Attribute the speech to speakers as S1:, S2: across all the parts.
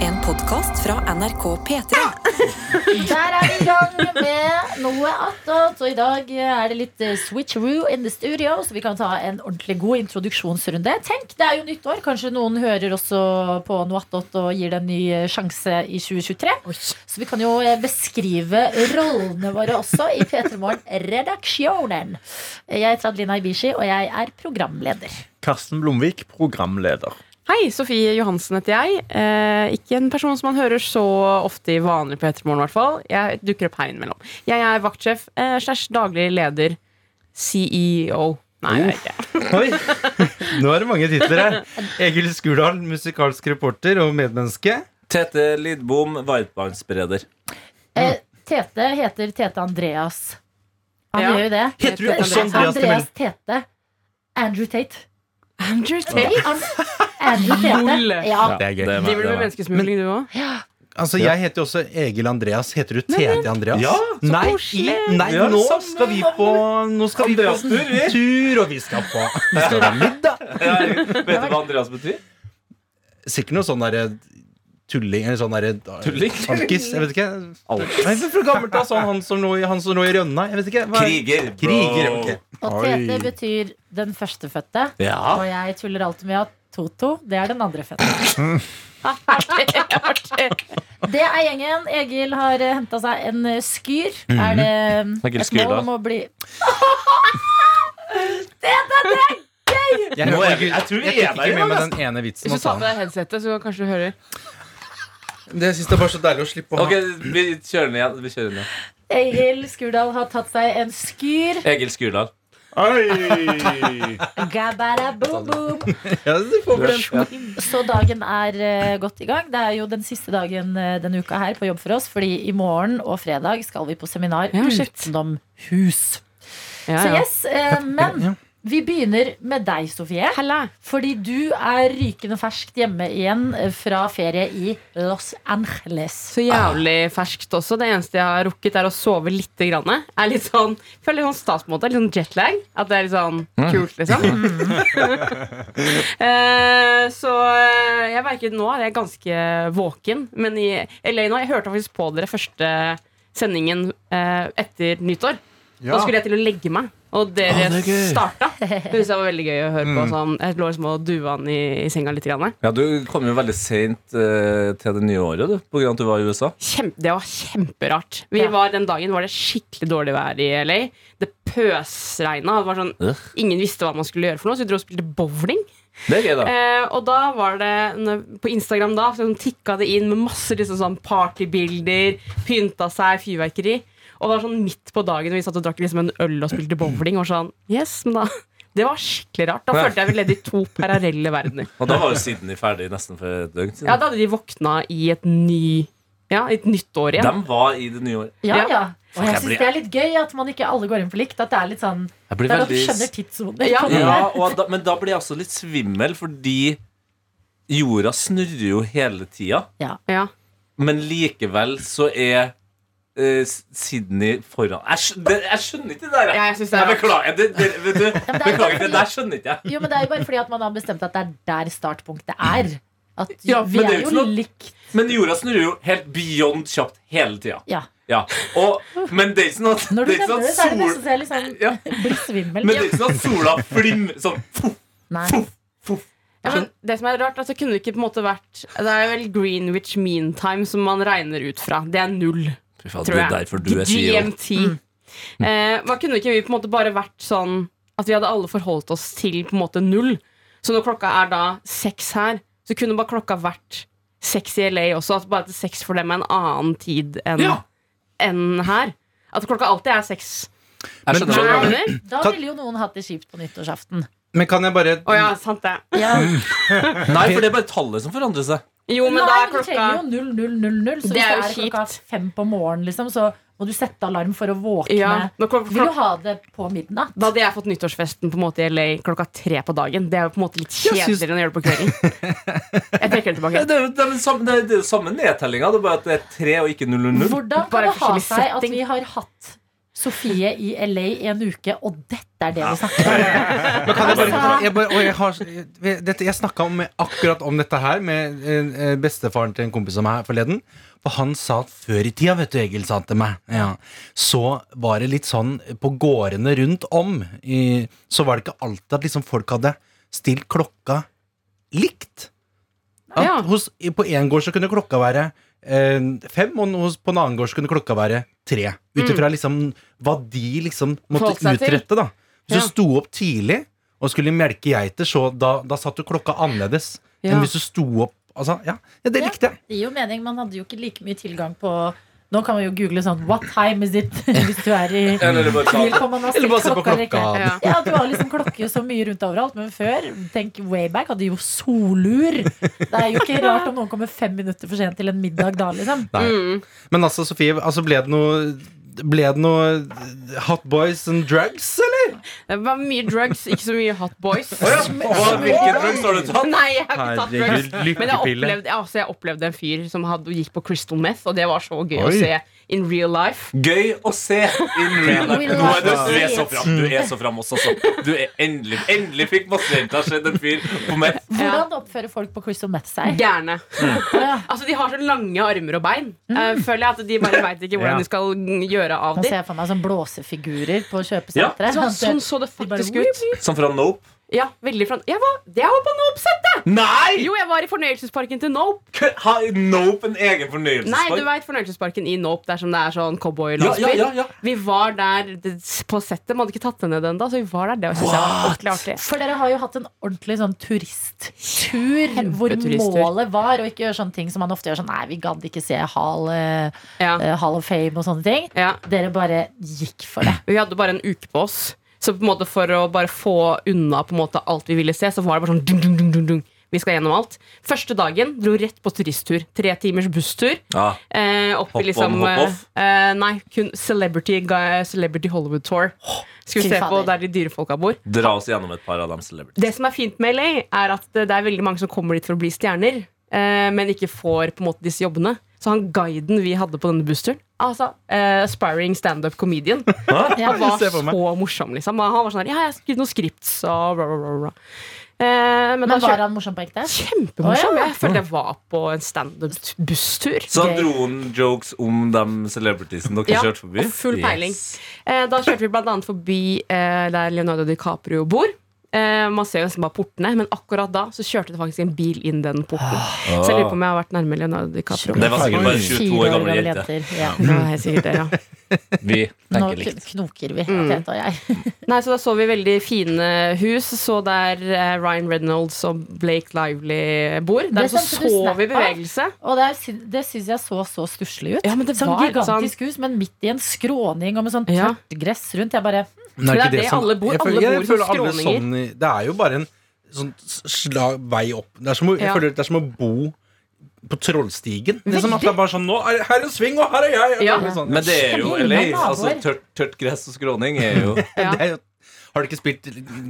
S1: En podkast fra NRK P3.
S2: Der er vi i gang med noe attåt. Og i dag er det litt eh, switcheroo in the studio, så vi kan ta en ordentlig god introduksjonsrunde. Tenk, det er jo nyttår. Kanskje noen hører også på noe attåt og gir det en ny eh, sjanse i 2023. Så vi kan jo eh, beskrive rollene våre også i P3 Morgen Redaksjonen. Jeg heter Adelina Ibishi, og jeg er programleder.
S3: Karsten Blomvik, programleder.
S4: Hei, Sofie Johansen heter jeg. Eh, ikke en person som man hører så ofte i vanlig på Ettermorgen, i hvert fall. Jeg dukker opp her innimellom. Jeg er vaktsjef eh, slash daglig leder CEO. Nei, jeg vet ikke.
S3: Oi! Nå er det mange titler her. Egil Skurdal, musikalsk reporter og medmenneske.
S5: Tete Lidbom, varmtvannsbereder.
S2: Eh, Tete heter Tete Andreas. Han
S4: Ja.
S2: gjør jo det.
S3: Heter du også
S2: Andreas,
S3: Andreas til mellom-
S2: Tete. Andrew Tate.
S4: Oh. Andrew Tate.
S2: An- Andrew Tete.
S4: Lol.
S2: Eh, Ja.
S3: Det er gøy.
S5: Det er
S4: Driver
S5: meg, det
S4: du
S5: er
S4: med
S5: meg.
S4: menneskesmugling, du òg?
S6: Altså, Jeg heter jo også Egil Andreas. Heter du TD Andreas?
S3: Ja, så
S6: nei,
S4: koselig.
S6: i- nei
S3: Ja,
S6: nå
S3: samme
S6: skal vi på Nå skal vi på
S5: Andreas tur, vi.
S6: tur, og vi skal på Vi skal ha middag.
S5: Ja, vet du hva Andreas betyr?
S6: Sikkert noe sånn derre tulling eller sånn derre
S5: Tulling?
S6: Alkis? Jeg vet ikke. Nei, men Fra gammelt av sånn han som lå i, han som lå i rønna. Jeg vet ikke. hva er-
S5: Kriger. bro.
S6: Kriger, ok.
S2: Og Tete betyr den førstefødte.
S5: Ja.
S2: Og jeg tuller alltid med at Toto, det er den andre fødte. Det er gjengen. Egil har henta seg en eh, skyr. Er det eh,
S5: Mhm. Egil
S2: et
S5: Skyr,
S2: mål
S5: da.
S2: om å bli
S6: Jeg,
S3: Nå er
S6: hørte
S3: vi-
S6: ikke-
S3: jeg tror vi
S6: jeg
S3: er
S6: fikk
S3: der,
S6: ikke med meg den ene vitsen. han
S4: Hvis du tar
S6: sa.
S4: på deg headsetet, så kanskje du hører.
S6: Det syns jeg bare er så deilig å slippe å ha.
S5: Ok, vi kjører den igjen. Vi kjører den igjen.
S2: Egil Skurdal har tatt seg en skyr.
S5: Egil Skurdal.
S2: Gabaraboom-boom.
S6: Ja, du får på den.
S2: Så dagen er eh, godt i gang. Det er jo den siste dagen eh, denne uka her på jobb for oss, fordi i morgen og fredag skal vi på seminar
S4: Ja, shit.
S2: utenom hus.
S4: Ja,
S2: Så
S4: ja.
S2: yes, eh, men vi begynner med deg, Sofie.
S4: Halla.
S2: Fordi du er rykende ferskt hjemme igjen eh, fra ferie i Los Angeles.
S4: Så jævlig ferskt også. Det eneste jeg har rukket, er å sove litt. Grann. Er litt sånn, føler litt sånn stas på en måte. Litt sånn jetlag. At det er litt sånn kult, liksom. Eh, så eh, jeg merker nå er jeg ganske våken. Men i LA nå Jeg hørte faktisk på dere første sendingen eh, etter nyttår. Da skulle jeg til å legge meg, og dere starta. Det syntes jeg var veldig gøy å høre på. Sånn. Jeg lå liksom og duva den i, i senga litt. Grann.
S5: Ja, du kom jo veldig seint eh, til det nye året, du, på grunn av at du var i USA.
S4: Kjempe, det var kjemperart. Vi
S2: Ja.
S4: var, den dagen var det skikkelig dårlig vær i LA. Det pøsregna. Det var sånn,
S5: Ugh.
S4: ingen visste hva man skulle gjøre, for noe så vi dro og spilte bowling.
S5: Det er gøy, da.
S4: Eh, og da var det når- På Instagram da så tikka det inn med masse liksom, sånn partybilder, pynta seg, fyrverkeri. Og det var sånn midt på dagen når vi satt og drakk liksom, en øl og spilte bowling. Og sånn, yes, men da Det var skikkelig rart. Da
S5: Ja.
S4: følte jeg vi levde i to parallelle verdener.
S5: Og da var jo Sydney ferdig nesten for et døgn siden.
S4: Ja, Da hadde de våkna i et, ny, ja, et nytt år igjen.
S5: De var i det nye året.
S2: Ja,
S4: Ja.
S2: ja. Og jeg
S5: jeg
S2: syns
S5: blir-
S2: det er litt gøy at man ikke alle går inn for likt. At det er litt sånn
S5: Jeg
S2: Der at du skjønner tidssoner.
S4: Ja.
S5: Ja, og da, men da blir jeg også litt svimmel, fordi jorda snurrer jo hele tida.
S4: Ja.
S5: Men likevel så er eh, S- Sydney foran jeg, skj- det, jeg skjønner ikke det der.
S4: Ja, jeg synes det er
S5: Nei, beklager. Det, det, vet du,
S2: men det er
S5: beklager,
S2: fordi-
S5: det der skjønner ikke jeg.
S2: Jo, men det er jo bare fordi at man har bestemt at det er der startpunktet er. At
S5: Ja,
S2: vi
S5: men det
S2: er
S5: er jo
S2: jo
S5: ikke noe-
S2: likt.
S5: Men jorda snurrer jo helt beyond kjapt hele tida.
S2: Ja.
S5: Ja. Og, men det er ikke sånn at,
S2: Når du
S5: det er ikke
S2: nevner
S5: sånn
S2: det, så er det
S5: at sol,
S2: nesten så jeg liksom
S5: Ja.
S2: blir svimmel.
S5: Men det er ikke sånn at sola flimmer sånn fuff,
S2: Nei.
S5: fuff, fuff.
S4: Ja, men det som er rart, altså kunne det ikke på en måte vært Det er vel Greenwich Mean Time som man regner ut fra. Det er null.
S5: Fy faen,
S4: Tror det er E jeg. GMT. Eh, hva kunne ikke vi på en måte bare vært sånn at vi hadde alle forholdt oss til på en måte null? Så når klokka er da seks her, så kunne bare klokka vært seks i LA også. At bare at seks for dem er en annen tid enn
S5: Ja.
S4: enn her. At klokka alltid er seks.
S5: Jeg skjønner hva du mener.
S4: Mener?
S2: Da
S6: Ta-
S2: ville jo noen hatt det kjipt på nyttårsaften.
S6: Men kan jeg bare
S4: Å ja, sant det.
S2: Ja.
S5: Nei, for det er bare tallet som forandrer seg.
S4: Jo, men
S2: Nei,
S4: da
S2: men
S4: er
S2: du
S4: klokka
S2: trenger jo 0000, så
S4: Det
S2: hvis det
S4: er jo
S2: er klokka fem på morgenen, liksom, så må du sette alarm for å våkne.
S4: ja, når klok-
S2: Vil du ha det på midnatt?
S4: Da hadde jeg fått nyttårsfesten på en måte i LA klokka tre på dagen. Det er jo på en måte litt
S6: Jeg syns-
S4: kjedeligere enn å gjøre det på kvelden. Jeg trekker det
S5: Ja,
S4: tilbake.
S5: Det er jo det er jo samme, det er jo samme nedtellinga, det er bare at det er tre og ikke 000.
S2: Hvordan
S4: Bare
S2: kan det ha
S4: forskjellig
S2: seg at
S4: setting.
S2: vi har hatt Sofie i LA i en uke, og dette er det vi snakker om.
S6: Men kan jeg bare,
S4: Altså-
S6: jeg bare og jeg har, dette, jeg snakka om, akkurat om dette her med eh, eh, bestefaren til en kompis av meg her forleden. For han sa at før i tida, vet du, Egil sa han til meg, ja, så var det litt sånn på gårdene rundt om i, Så var det ikke alltid at liksom folk hadde stilt klokka likt. At
S4: Ja.
S6: hos, i- på én gård så kunne klokka være eh, fem, og hos, på en annen gård så kunne klokka være tre. Ut ifra liksom, hva de liksom måtte
S4: Mm. Forholdt seg til.
S6: utrette, da. Hvis
S4: Ja.
S6: du sto opp tidlig og skulle melke geiter, så da, da satt du klokka annerledes.
S4: Ja.
S6: Men hvis du sto opp altså, ja. ja, det
S2: Ja.
S6: likte jeg.
S2: Det gir jo mening, man hadde jo ikke like mye tilgang på Nå kan man jo google sånn What time is it? Hvis du er i
S5: Eller bare
S2: bil,
S5: sånn
S2: kan man ha
S6: Eller bare se
S2: stilt
S6: på
S2: klokka eller ikke.
S6: klokka.
S4: Ja.
S2: Ja, du har liksom klokke så mye rundt overalt, men før, tenk Wayback, hadde jo solur. Det er jo ikke rart om noen kommer fem minutter for sent til en middag da, liksom.
S6: Nei.
S4: Mm.
S6: Men altså, Sofie, altså, ble det noe ble det noe hot boys and drugs, eller?
S4: Det var mye drugs, ikke så mye hot boys.
S5: Hva- Hvilken drug har du tatt?
S4: Nei, jeg har ikke tatt drugs.
S3: Herregud,
S4: Men jeg
S3: lykkepille.
S4: opplevde, ja, altså, jeg opplevde en fyr som hadde, gikk på crystal meth, og det var så gøy å
S6: Oi.
S4: se in real life.
S5: Gøy å se in real life. Nå er du, du er så fram. Du er så fram også, altså. Du er endelig, endelig fikk massejenta sett en fyr på meg.
S2: Hvordan oppfører folk på Crystal Meth seg?
S4: Gærne.
S2: Ja.
S4: Altså, de har så lange armer og bein. Eh, føler jeg at De bare veit ikke
S6: Ja.
S4: hvordan de skal gjøre av
S2: Nå ser
S4: dem.
S2: jeg for meg sånn blåsefigurer på
S5: Ja.
S2: kjøpesenteret.
S4: Sånn, sånn så det
S2: De bare-
S4: faktisk ut.
S5: Som fra Nope.
S4: Ja, veldig front. Jeg var, jeg var på Nope-settet!
S5: Nei!
S4: Jo, jeg var i fornøyelsesparken til Nope.
S5: Kø- Har Nope en egen
S4: Nei, du
S5: fornøyelsespark?
S4: veit fornøyelsesparken i Nope, der som det er sånn
S5: Ja,
S4: cowboylandsby.
S5: ja, ja, ja.
S4: Vi var der det, på settet. Man hadde ikke tatt det ned ennå, så vi var der. Det synes jeg var ordentlig artig.
S2: For dere har jo hatt en ordentlig sånn turisttur hvor
S4: Kjempeturisttur.
S2: målet var å ikke gjøre sånne ting som man ofte gjør sånn Nei, vi gadd ikke se Hall, eh,
S4: Ja.
S2: eh, Hall of Fame og sånne ting.
S4: Ja.
S2: Dere bare gikk for det.
S4: Vi hadde bare en uke på oss. Så på en måte for å bare få unna på en måte alt vi ville se, så var det bare sånn dung, dung, dung, dung, dung. Vi skal gjennom alt. Første dagen dro rett på turisttur. Tre timers busstur.
S5: ja.
S4: Eh, opp
S5: Hopp
S4: i
S5: on,
S4: liksom
S5: hopp off?
S4: eh, eh, Nei, kun Celebrity, ga- celebrity Hollywood Tour. Skulle
S2: fy
S4: se på
S2: fader.
S4: der de dyre folka bor.
S5: Dra oss gjennom et par av dem celebrities.
S4: Det som er fint med LA, er at det er veldig mange som kommer dit for å bli stjerner, eh, men ikke får på en måte disse jobbene. Så han guiden vi hadde på denne bussturen, altså eh, aspiring standup comedian, han var
S6: Se for meg.
S4: så morsom, liksom. Han var sånn her, ja, jeg har skrevet noen scripts og bla, bla, bla. bla. Eh, men,
S2: Men
S4: da
S2: var
S4: kjørte
S2: han morsom på ekte?
S4: Kjempemorsom.
S2: Å, ja.
S4: Jeg følte jeg var på en standup-busstur.
S5: Så
S2: Gøy.
S5: dro han jokes om de celebritiesene dere
S4: Ja,
S5: kjørte forbi?
S4: og full peiling.
S5: Yes.
S4: Eh, da kjørte vi blant annet forbi eh, der Leonardo DiCaprio bor. Eh, man ser jo nesten bare portene, men akkurat da så kjørte det faktisk en bil inn den porten.
S6: Ah.
S4: Så jeg lurer på om jeg har vært nærme Leonardo DiCaprio.
S5: Ah. Det var sikkert bare en 22 år gammel jente.
S2: jenter. Ja.
S4: Nå er jeg sikkert det, ja.
S5: Vi
S2: Nå
S5: tenker
S2: kn-
S5: likt.
S2: knoker vi, Tete og jeg.
S4: Nei, så Da så vi veldig fine hus. Så der eh, Ryan Reynolds og Blake Lively bor. Der
S2: Det
S4: så,
S2: sendte du
S4: så
S2: snap
S4: vi
S2: av.
S4: bevegelse.
S2: Og det, er syn- det syns jeg så så stusslig ut.
S4: Ja, men det
S2: sånn
S4: var
S2: gigantisk hus, men midt i en skråning og med sånn
S4: Ja.
S2: tørt gress rundt. Jeg bare
S6: Men
S4: Men det er
S6: ikke sånn-
S4: det alle bor-
S6: jeg føler-
S4: alle
S6: jeg
S4: bor i
S6: føler
S4: sånne
S6: alle
S4: skråninger.
S6: sånn i- Det er jo bare en sånn slag vei opp. Det er som å, jeg
S4: Ja.
S6: føler det er som å bo på Trollstigen. Det er som at det er bare sånn Nå er her er en sving, og her er jeg!
S4: Ja.
S6: Bare sånn.
S5: Men det er jo LA.
S2: Kjempehyggelig naboer.
S5: Altså, tørt, tørt gress og skråning er jo
S6: Det
S4: Ja.
S6: er jo, har du ikke spilt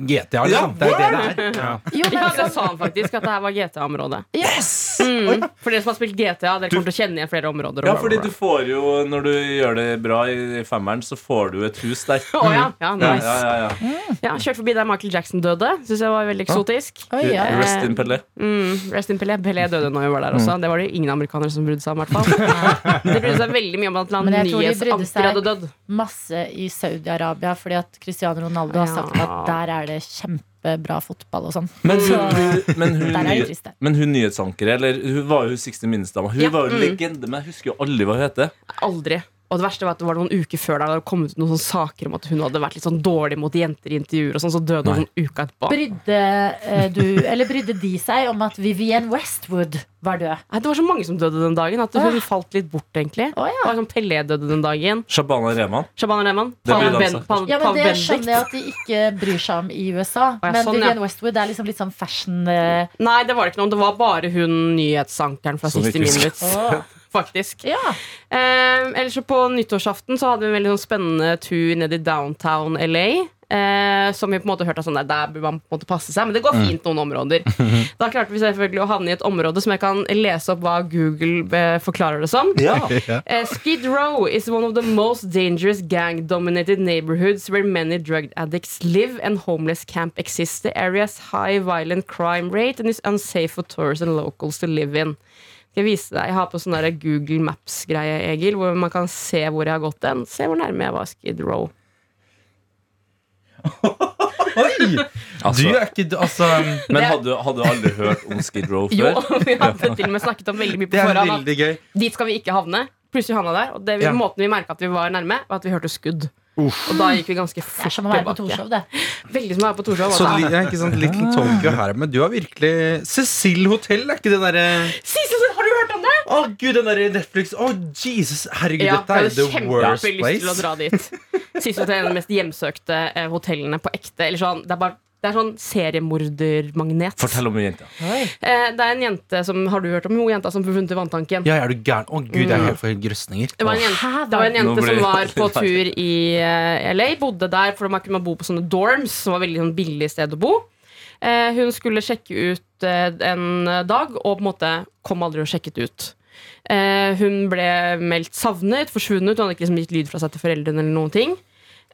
S6: GTA,
S5: Ja,
S6: liksom? det er jo det det er.
S2: Jo, men
S4: Ja, det
S2: sånn,
S4: sa han faktisk, at det her var GTA-området.
S5: Yes!
S4: Mm. For dere som har spilt GTA, dere kommer til å kjenne igjen flere områder. og bla,
S5: Ja,
S4: bla,
S5: fordi
S4: bla.
S5: du får jo, når du gjør det bra i femmeren, så får du et hus der.
S4: Å ja. Ja,
S5: Ja,
S4: nice.
S5: ja, ja, ja.
S4: Ja, Kjørte forbi der Michael Jackson døde. Synes jeg var veldig eksotisk.
S2: oi, ja.
S5: Rest in Pelle.
S4: Mm, rest in Pelé. Pelé døde når vi var der
S5: Mm.
S4: også. Det var det ingen amerikanere som brydde seg om. i hvert fall De brydde seg veldig mye om at
S2: Men jeg tror de brydde
S4: nyhetsanker hadde dødd.
S2: Masse i Saudi-Arabia fordi at Cristiano Ronaldo har sagt
S4: Ja.
S2: at der er det kjempebra fotball og sånn.
S5: Men
S2: Så
S5: hun, hun, men hun,
S2: der er det
S5: ny-
S2: trist, det.
S5: men hun nyhetsankeret, eller hun var jo 60 Minutes-dama. Hun
S4: Ja,
S5: var jo
S4: mm.
S5: legende, men jeg husker jo aldri hva hun heter.
S4: Aldri. Og det verste var at det var noen uker før der det hadde kommet ut noen sånne saker om at hun hadde vært litt sånn dårlig mot jenter i intervjuer, og sånn, så døde hun noen uker etterpå.
S2: Brydde eh, du, eller brydde de seg om at Vivienne Westwood var død?
S4: Nei, det var så mange som døde den dagen, at hun
S2: Åh.
S4: falt litt bort, egentlig.
S2: Å, ja.
S4: Det var sånn Pelé døde den dagen.
S5: Shabana Rehman.
S4: Shabana Rehman.
S5: Det
S4: Pav
S5: brydde han
S4: ben,
S5: seg.
S4: Pav,
S2: Ja, men
S4: Pav
S2: Det
S4: Benedict.
S2: skjønner jeg at de ikke bryr seg om i USA.
S4: ja,
S2: Men
S4: sånn, ja.
S2: Vivienne Westwood er liksom litt sånn fashion eh,
S4: Nei, det var det ikke noe om. Det var bare hun nyhetsankeren fra
S5: Som
S4: 60
S5: vi ikke husker.
S4: Minutes. Faktisk.
S2: Ja.
S4: Ehm, Eh, ellers så på nyttårsaften så hadde vi en veldig sånn spennende tur ned i downtown LA. eh, Eh, som vi på en måte hørte at sånn der, der bør man på en måte passe seg, men det går fint noen områder. Da klarte vi selvfølgelig å havne i et område som jeg kan lese opp hva Google eh, forklarer det som. Eh, Skid Row is one of the most dangerous gang-dominated neighborhoods where many drug addicts live and homeless camp exists. The area's high violent crime rate and is unsafe for tourists and locals to live in. Skal jeg vise deg, jeg har på sånn der Google Maps-greie, Egil, hvor man kan se hvor jeg har gått hen. Se hvor nærme jeg var Skid Row.
S3: Oi! Du
S5: Altså,
S3: er ikke Altså,
S5: men hadde, hadde du aldri hørt om Skid Row
S4: Jo,
S5: før?
S4: vi hadde til og med snakket om veldig mye på
S3: det er
S4: forhånd.
S3: veldig gøy.
S4: At dit skal vi ikke havne. Plutselig havna der. Og det, vi-
S3: Ja.
S4: måten vi merka at vi var nærme, var at vi hørte skudd. Og da gikk vi ganske
S2: Det
S4: fort
S2: er som å være på
S4: tilbake.
S2: Torshov, det.
S4: Veldig som å være på Torshov.
S3: Så,
S4: altså.
S3: li- ja, ikke
S6: sånn
S3: sant,
S5: Ah.
S3: Little Tokyo her, men du har virkelig Cecil Hotel, er ikke det derre
S4: Sissel, har du hørt om det?
S3: Å, gud, den derre Netflix Å, Jesus, herregud,
S4: Ja,
S3: dette er
S4: jeg
S3: the
S4: hadde
S3: worst
S4: kjempelyst til å
S3: place.
S4: dra dit. Sissel Hotel er en av de mest hjemsøkte eh, hotellene på ekte. Eller sånn, det er bare det er sånn seriemordermagnet.
S5: Fortell om jenta.
S4: Eh, det er en jente som Har du hørt om hun jenta som forsvant i vanntanken?
S6: Ja, er du gæren? Å gud, jeg hører for grøsninger.
S4: Mm. Det var en jente, det var en
S5: Nå
S4: jente
S5: ble
S4: som
S5: jeg
S4: var
S5: veldig
S4: på
S5: redd.
S4: tur i eh, LA, bodde der, for man kunne bo på sånne dorms, som var veldig sånn billig sted å bo. Eh, hun skulle sjekke ut eh, en dag, og på en måte kom aldri og sjekket ut. Eh, hun ble meldt savnet, forsvunnet, hun hadde ikke liksom gitt lyd fra seg til foreldrene eller noen ting.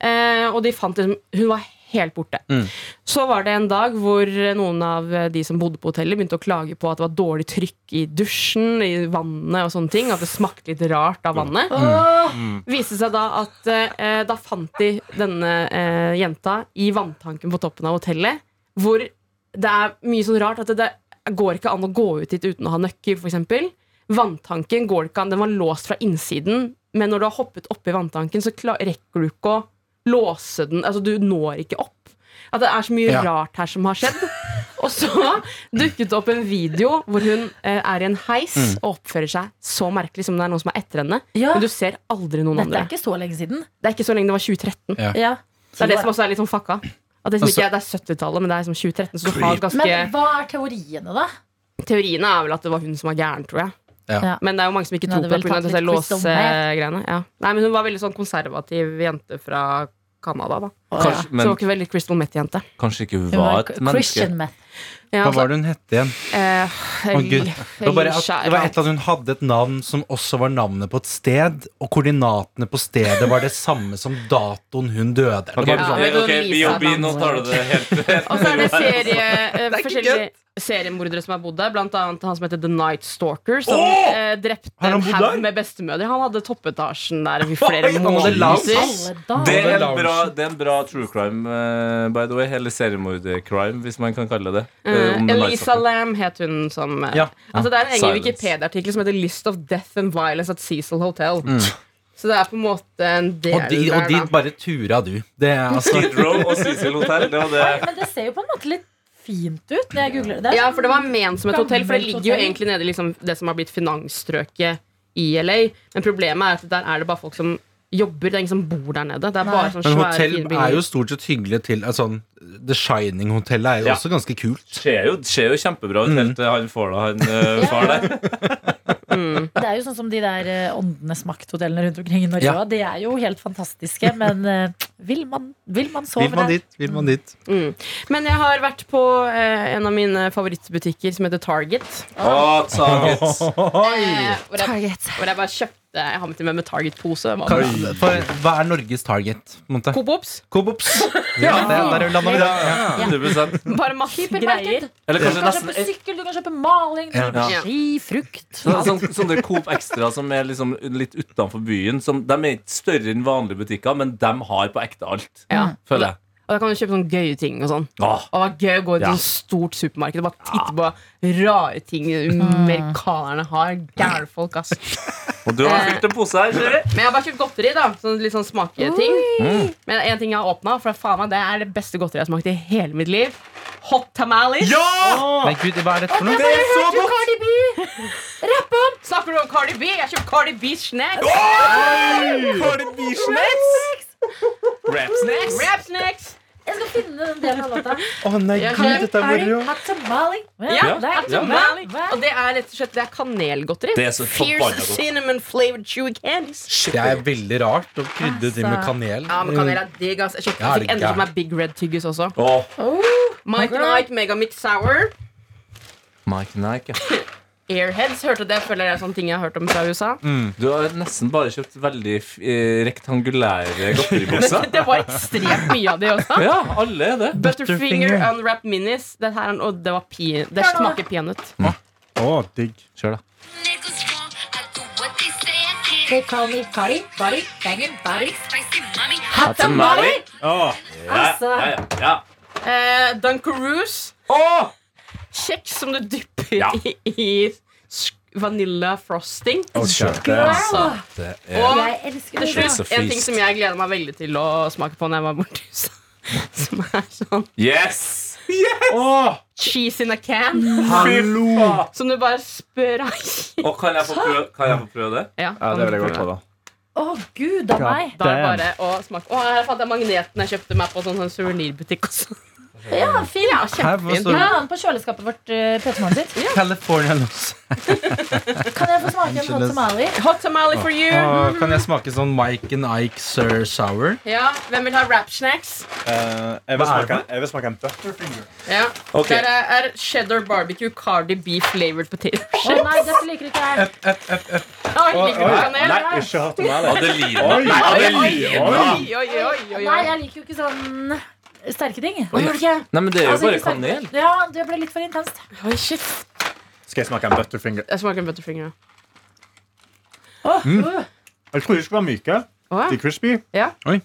S4: Eh, og de fant liksom, hun var helt borte.
S5: Mm.
S4: Så var det en dag hvor noen av de som bodde på hotellet, begynte å klage på at det var dårlig trykk i dusjen, i vannet og sånne ting. At det smakte litt rart av vannet. Mm. Viste seg da at eh, da fant de denne eh, jenta i vanntanken på toppen av hotellet. Hvor det er mye sånn rart at det, det går ikke an å gå ut dit uten å ha nøkkel, f.eks. Vanntanken går det ikke an, den var låst fra innsiden, men når du har hoppet oppi vanntanken, så kla- rekker du ikke å låse den. Altså, du når ikke opp. At det er så mye
S6: Ja.
S4: rart her som har skjedd. Og så dukket det opp en video hvor hun eh, er i en heis og oppfører seg så merkelig som om det er noen som er etter henne.
S2: Ja.
S4: Men du ser aldri noen
S2: Dette
S4: andre.
S2: er ikke så lenge siden.
S4: Det er ikke så lenge det var 2013.
S2: Ja.
S4: Det er det som også er litt sånn fucka. At det, som
S6: Altså-
S4: ikke, er- det er 70-tallet, men det er som 2013. Så du har ganske
S2: Men hva er teoriene, da?
S4: Teoriene er vel at det var hun som var gæren, tror jeg.
S6: Ja.
S2: Ja.
S4: Men det er jo mange som ikke
S2: Hun hadde
S4: tror på
S2: vel
S4: det pga.
S2: tatt
S4: disse
S2: litt quiz
S4: låsegreiene. Ja. Nei, men hun var veldig sånn konservativ jente fra Canada, da.
S5: Kanskje,
S4: så hun
S5: men
S4: var ikke veldig Crystal Meth-jente.
S5: kanskje ikke
S2: Hun
S5: var et
S2: k-
S5: menneske.
S2: Christian meth.
S4: Ja,
S6: Hva
S4: altså,
S6: var det hun hette igjen?
S4: eh,
S6: Å, Gud. Det var, bare at,
S4: Risha-
S6: det var et eller annet Hun hadde et navn som også var navnet på et sted, og koordinatene på stedet var det samme som datoen hun døde. Det var
S5: Ok,
S6: bare sånn,
S4: men
S5: ok,
S4: da viser
S5: B.O.B.,
S4: jeg
S5: nå
S4: navnet.
S5: tar du det helt
S4: Og så er det serie, eh,
S6: ikke
S4: forskjellige seriemordere som har bodd der. Blant annet han som heter The Night Stalker, som
S6: Åh!
S4: eh, drepte
S6: Har han
S4: en
S6: bodd
S4: haug
S6: der?
S4: med bestemødre. Han hadde toppetasjen der i
S6: Oi,
S4: flere
S6: han hadde
S4: måneder. Eh,
S6: lounge.
S2: Alle dager.
S5: Det er, en bra, det er en bra true crime, eh, by the way. Eller seriemordercrime, hvis man kan kalle det. eh, om
S4: Eh,
S5: det er
S4: Elisa
S5: nice.
S4: Lam het hun som eh,
S6: Ja.
S4: Altså Det er en egen
S5: Silence.
S4: Wikipedia-artikkel som heter 'List of Death and Violence at Cecil Hotel'.
S5: Mm.
S4: Så det er på en måte en del
S6: Og, de,
S4: der,
S6: og
S4: da.
S6: dit bare tura du. Det er altså
S5: Skid Row og Cecil Hotel. Det var det.
S2: Men det ser jo på en måte litt fint ut når jeg googler det. det. er
S4: Ja,
S2: sånn-
S4: for det var ment som et hotell, for det
S2: Gammelt
S4: ligger jo
S2: hotell.
S4: egentlig nede i liksom det som har blitt finansstrøket i LA. Men problemet er at der er det bare folk som jobber. Det er ingen som bor der nede. Det er bare sånne
S6: Men
S4: svære
S6: hotell er
S4: fine
S6: jo
S4: bygninger.
S6: stort sett hyggelig til altså, sånn, The Shining-hotellet er jo
S5: Ja.
S6: også ganske kult.
S5: Ser jo, ser jo kjempebra ut helt til han får da han eh, far der.
S2: Det er jo sånn som de der eh, åndenes makt-hotellene rundt omkring i Norge.
S6: Ja.
S2: også. De er jo helt fantastiske, men eh, vil, man, vil man sove
S6: Vil man
S2: der?
S6: dit, vil man dit.
S4: Men jeg har vært på eh, en av mine favorittbutikker som heter Target.
S5: Å, Targets.
S4: Eh, hvor, jeg, hvor jeg bare kjøpte Jeg har med til meg med Target-pose. hva-
S6: Kan, for, hva er Norges target? på en måte?
S4: Coop Ops.
S6: Coop Ops. Ja, det, der lander vi da. Ja.
S5: 100
S4: Bare masse greier.
S2: Supermarked.
S5: Eller
S2: Du
S5: kanskje
S2: kan
S5: nesten
S2: kjøpe sykkel, du kan kjøpe maling, du kan
S5: Ja.
S2: kjøpe ski, frukt. Altså,
S5: Sånn- sånn- Sånne Coop Extra som er liksom litt utenfor byen. Som, de er ikke større enn vanlige butikker, men de har på ekte alt.
S4: Ja.
S5: Føler jeg.
S4: Og da kan du kjøpe sånne gøye ting og sånn.
S5: Åh,
S4: Og det var gøy å gå i et
S5: Ja.
S4: sånt stort supermarked og bare titte på rare ting amerikanerne har. Gærne folk, ass.
S5: og du har fylt en pose her, ser vi.
S4: Men jeg har bare kjøpt godteri, da. Sånn litt sånn smaketing. Men en ting jeg har åpna, for faen meg, det er det beste godteriet jeg har smakt i hele mitt liv. Hot tamales.
S6: Men gud, hva er dette for noe?
S5: er så godt!
S4: Cardi B! Rapp om! Snakker du om Cardi B? Jeg har kjøpt Cardi B snacks.
S5: Har det bisnacks? Rap snacks?
S4: Rap snacks.
S2: Jeg skal finne den delen av låta.
S6: Å nei,
S4: Jeg
S6: gud, dette er moro.
S2: Hot tamale.
S4: Ja,
S2: Nei,
S4: hot tamale. Og det er rett og slett det er kanelgodteri.
S5: Det er så forbanna
S4: Fierce
S5: godt.
S4: cinnamon flavored chewy candies.
S6: Det er veldig rart å krydre til med kanel.
S4: Altså. Ja, men kanel er digg, ass. Jeg kjøpte
S6: Ja, er
S4: jeg
S6: det
S4: fikk enda
S6: gærent?
S4: som er Big Red Tyggis også.
S5: Åh,
S4: Mike Nike, Megamix Sour.
S7: Mike Nike. ja.
S4: Airheads hørte det. Føler jeg er sånne ting jeg har hørt om fra USA.
S7: Du har nesten bare kjøpt veldig f- eh, rektangulære godteribokser.
S4: Det var ekstremt mye av det også.
S7: Ja, alle er det.
S4: Butterfinger Unwrapped Minis. Det her er, en- og det, var pi, det
S2: Hør nå.
S4: smaker peanøtt.
S6: Å, digg.
S7: Kjør, da.
S8: Niggas wrong, I do what they say I can.
S2: They call me Kari, Bari, Bangin, Bari.
S8: Spicy mommy,
S2: Hot tamale! Altså,
S5: ja, ja, ja.
S4: Eh, Dunkaroos.
S5: Åh!
S4: Kjeks som du dypper
S5: Ja.
S4: i, i sk- vanilla frosting.
S5: Altså.
S2: wow!
S4: Og
S2: Jeg elsker
S4: til
S2: det.
S4: slutt,
S7: så
S4: en
S7: fryst.
S4: ting som jeg gleder meg veldig til å smake på når jeg var borte i USA. Som er sånn
S5: Yes!
S4: cheese in a can.
S5: Hallo!
S4: Som du bare sprayer.
S5: Og kan jeg få prøve, kan jeg få prøve det?
S4: Ja,
S7: Ja, det vil jeg godt ha, da.
S2: Å, gud av meg.
S4: Da er det bare å smake. Å, her fant jeg magneten jeg kjøpte meg på sånn, sånn suvenirbutikk også.
S2: Ja, fin.
S4: Ja,
S6: Her, hva
S4: kjempefint.
S2: Jeg
S6: står det?
S2: har den på kjøleskapet vårt. eh, P3-morgen sitt.
S6: California Loss.
S2: Kan jeg få smake en hot tamale?
S4: Hot tamale for you.
S6: Å, kan jeg smake sånn Mike and Ike Sir Sour?
S4: Ja, hvem vil ha wrap snacks?
S9: Eh, jeg, vil smake, jeg vil smake en butterfinger.
S4: Ja.
S5: Ok.
S4: Der er, er cheddar barbecue cardi beef flavored potato.
S2: Å nei, dette liker ikke jeg.
S4: Oi, liker du kanel?
S9: Nei, ikke hatt med det.
S5: Adelina.
S9: Oi,
S5: Nei,
S9: oi,
S5: Adelina!
S4: Oi, oi, oi, oi,
S2: Nei,
S4: oi.
S2: jeg liker jo ikke sånn sterke ting. Hva gjør du ikke?
S7: Nei, men det er jo
S2: Altså,
S7: bare
S2: ikke sterke-
S7: kanel.
S2: Ja, det ble litt for intenst.
S4: Oi, shit.
S9: Skal jeg smake en butterfinger?
S4: Jeg smaker en butterfinger.
S2: Åh, øh.
S9: Jeg tror de skulle være myke.
S4: Å,
S9: De
S4: ja.
S9: er crispy.
S4: Ah. Ja.
S6: Oi.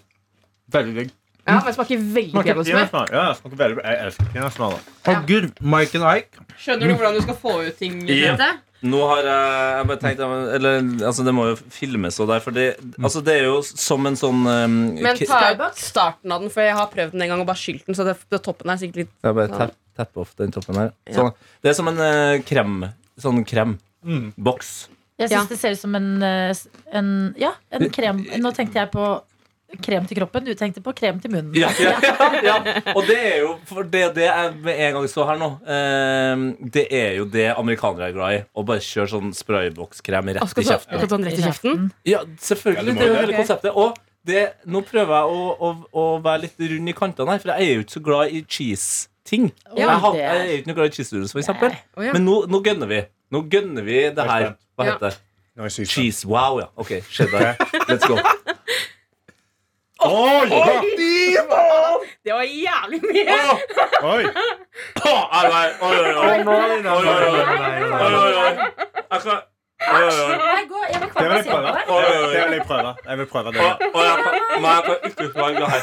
S9: Veldig digg.
S4: ja, men smaker veldig
S9: Smaker
S4: peanøttsmør.
S9: peanøttsmør. Ja, smaker veldig Jeg elsker peanøttsmør. da.
S6: Å, gud. Mike and Ike.
S4: Skjønner du hvordan du skal få ut ting?
S5: Ja.
S4: Bente?
S5: Nå har jeg, jeg bare tenkt eller, altså, Det må jo filmes og der, for det, altså, det er jo som en sånn um,
S4: Men
S5: ki-
S4: ta ut starten av den, for jeg har prøvd den en gang og bare skylt den. Så det, det toppen er sikkert litt
S7: Jeg bare tapp, tapp off den toppen her. Sånn. Det er som en eh, krem. Sånn krem. Boks.
S2: Jeg
S4: Ja.
S2: syns det ser ut som en, eh, s- en Ja, en krem. Nå tenkte jeg på krem til kroppen. Du tenkte på krem til munnen.
S5: Ja, ja, ja. Og det er jo for det, det jeg med en gang så her nå, eh, det er jo det amerikanere er glad i. Å bare kjøre sånn spraybokskrem
S4: Å,
S5: rett
S4: skal
S5: i
S4: du ha-
S5: kjeften.
S4: skal du ha den rett i kjeften?
S5: Ja, selvfølgelig.
S9: Ja, du må
S5: det er jo
S9: det.
S5: hele
S4: Ok.
S5: konseptet. Og det, nå prøver jeg å, å, å være litt rund i kantene her, for jeg er jo ikke så glad i cheese-ting.
S4: Ja,
S5: jeg, har-
S4: det er-
S5: jeg er jo ikke noe glad i cheese doodles, for eksempel.
S4: Å, ja.
S5: Men nå, nå gønner vi. Nå gønner vi det her. Hva
S4: Ja.
S5: heter det?
S9: Nå er jeg syk.
S5: Cheese wow, ja. Ok, cheddar. Let's go.
S4: Det var jævlig mye!
S9: Oi!
S5: Au, au, au, au, au. Oi, oi, oi, oi, oi, oi. Jeg kan- Oi, oi, oi.
S2: Jeg, går, jeg vil
S9: Det
S2: kvalme av å
S9: vil jeg
S2: se på
S9: prøve.
S2: deg.
S5: Oi, oi, oi.
S9: Det vil jeg prøve. Jeg vil prøve det.
S5: Å, å, jeg kan, nei, jeg kan ikke være glad her.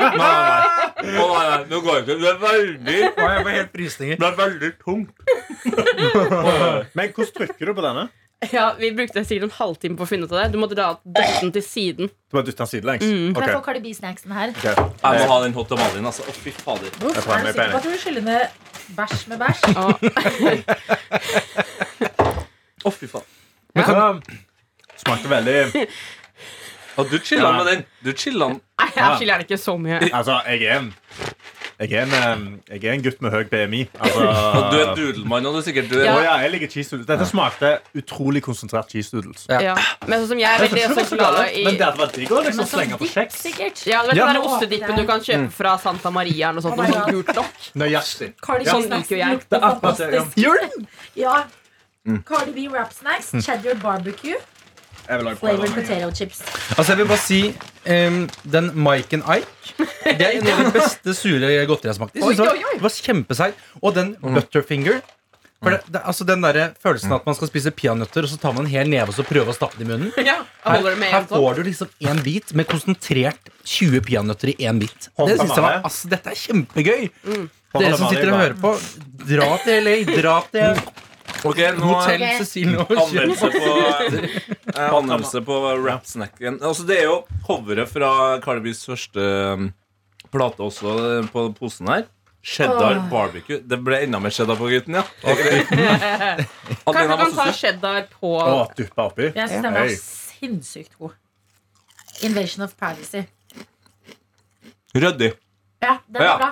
S5: Nei, nei, nei. Å, nei, nei. Nå går det ikke. Det er veldig
S6: Å, jeg får helt frysninger.
S5: Det er veldig tungt.
S9: Men hvordan trykker du på denne?
S4: Ja, Vi brukte sikkert en halvtime på å finne ut av det. Du måtte dra døtten til siden.
S9: Du bare dytter den sidelengs?
S2: Kan jeg få
S9: Ok,
S2: Cardi B-snacksen her?
S9: ok.
S5: Jeg må ha den hot tamalien, altså. Å, fy fader.
S2: Uff,
S9: Jeg får
S2: er du
S9: meg
S2: sikker på
S9: penger.
S2: at du vil skylle ned bæsj med bæsj?
S5: Å, fy faen.
S9: Smakte veldig
S5: Å, du chilla med den. Du chilla den.
S4: Nei, jeg skiller det ikke så mye.
S9: Altså, jeg er en jeg er, en, em, jeg er en gutt med høy BMI. Altså,
S5: Og du er doodlemann, og du er sikkert du er
S9: Å
S4: Ja.
S9: ja, jeg liker cheese doodles. Dette smakte utrolig konsentrert cheese doodles.
S4: Ja. Men sånn som jeg er veldig også glad i
S9: Men det hadde vært digg å liksom
S2: Men
S4: altså,
S2: sånn
S9: slenge på
S2: dipp,
S9: kjeks.
S2: sikkert.
S4: ja, du vet
S6: Ja,
S4: den der
S6: nå-
S4: ostedippen du kan kjøpe fra Santa Maria eller noe sånt.
S2: Oh my
S4: noe sånt
S2: God.
S4: gult lokk.
S9: Nøyaktig.
S2: Cardi
S4: Sånn liker jo
S2: B-snacksen
S4: jeg.
S2: lukter fantastisk.
S9: Gjør
S2: Ja. Cardi B wrap snacks, cheddar barbecue,
S9: Jeg vil også prøve
S2: flavored
S9: den.
S2: potato chips.
S6: Altså, jeg vil bare si em, den Mike and Ike Det er en av de beste sure godteri jeg har smakt. Jeg synes
S4: Oi,
S6: det
S4: oi,
S6: var- det var kjempeseig. Og den
S5: Mm.
S6: Butterfinger. For det, det, altså Den der følelsen at man skal spise peanøtter, og så tar man en hel neve og så prøver å stappe den i munnen.
S4: Ja, jeg
S6: Her,
S4: holder det med
S6: her
S4: en sånn.
S6: får du liksom én bit med konsentrert 20 peanøtter i én bit. Det synes jeg var, altså, Dette er kjempegøy! Dere som sitter og hører på, dra til LA. Dra til
S5: Ok, nå
S6: Hotell Cecilie og kjøp.
S5: Anmeldelse på, eh, anmeldelse på rap-snacken. Altså, det er jo coveret fra Carlbys første um, plate også eh, på posen her. Cheddar barbecue. Det ble enda mer cheddar på gutten, ja.
S4: Kanskje
S5: Adelina,
S4: du kan
S5: hva
S4: ta
S5: synes du?
S4: cheddar på
S9: Å, duppa oppi.
S2: Jeg syns den var
S9: Hei.
S2: sinnssykt god. Invasion of Privacy.
S5: Ryddig.
S2: Ja, den
S5: Ja.
S2: er bra.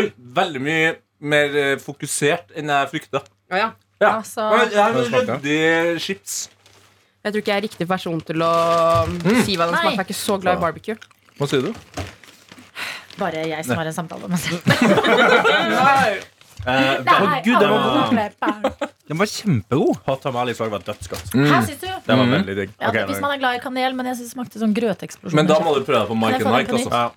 S5: Oi, veldig mye mer eh, fokusert enn jeg frykta.
S4: Å ja.
S5: Ja.
S4: Altså,
S5: Det er
S6: Hva smaker
S5: ryddig chips.
S4: jeg tror ikke jeg er riktig person til å um, si hva den
S2: Nei.
S4: smaker. Jeg er ikke så glad i barbecue.
S5: Hva sier du?
S2: Bare jeg som har en samtale med meg selv.
S9: Eh,
S2: Nei,
S6: Gud, den var
S2: alle klipper.
S6: Den var kjempegod.
S9: Hot tamales også var dødsgodt.
S5: Mm.
S2: Hæ, syns du?
S9: Det
S6: Mm.
S9: var veldig digg.
S2: Ja,
S9: Ok,
S2: Hvis
S9: nå-
S2: man er glad i kanel, men jeg syns det smakte sånn grøteksplosjon.
S5: Men da må du prøve deg på
S2: Kan jeg
S5: Mike
S2: få den
S5: and Mike.
S2: på
S5: Altså.
S9: ja.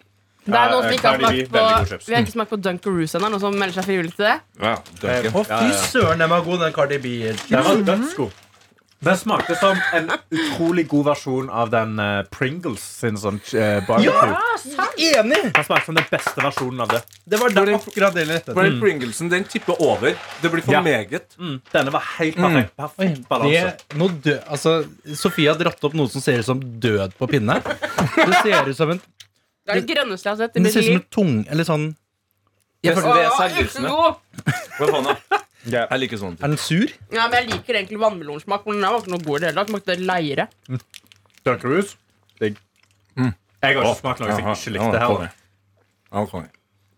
S4: Det er noen som
S9: Eh,
S4: ikke har
S9: Cardi B,
S4: smakt
S9: veldig god
S4: på
S9: chips.
S4: Vi har ikke smakt på Dunkaroos ennå. Noen som melder seg frivillig til det?
S5: Ja, Duncan.
S6: Å, fy søren, den var god, den Cardi B.
S9: Den var dødsgod. Den smakte som en utrolig god versjon av den eh, Pringles sin sånn eh, barbecue.
S6: Enig!
S9: Den smakte som den beste versjonen av det.
S6: Det var der, akkurat det jeg lette
S5: For
S6: etter.
S5: den Pringlesen den tipper over. Det blir for
S9: Ja.
S5: meget.
S9: Mm, Denne var helt perfekt.
S6: Oi,
S9: Perfekt
S6: det,
S9: balanse.
S6: nå dø, altså, Sofie har dratt opp noe som ser ut som død på pinne. Det ser ut som en,
S4: Det er det grønneste jeg har sett. i
S6: det
S4: mitt
S6: ser ut som
S4: liv.
S6: en tung Eller sånn
S5: Jeg føler det er
S4: Å, ikke
S5: selvlysende.
S4: god.
S5: Hva faen da?
S9: Ja.
S5: Jeg liker sånne ting.
S6: Er den sur?
S4: Ja, men Jeg liker egentlig vannmelonsmak, men den her var ikke noe god i det hele tatt. Smakte leire.
S9: Dunkaroos. Digg. Mm. Jeg har ikke
S5: Åh,
S9: smakt noe som
S5: jaha,
S9: jeg ikke
S5: ja,
S9: likte her.
S5: konge. Ja, konge.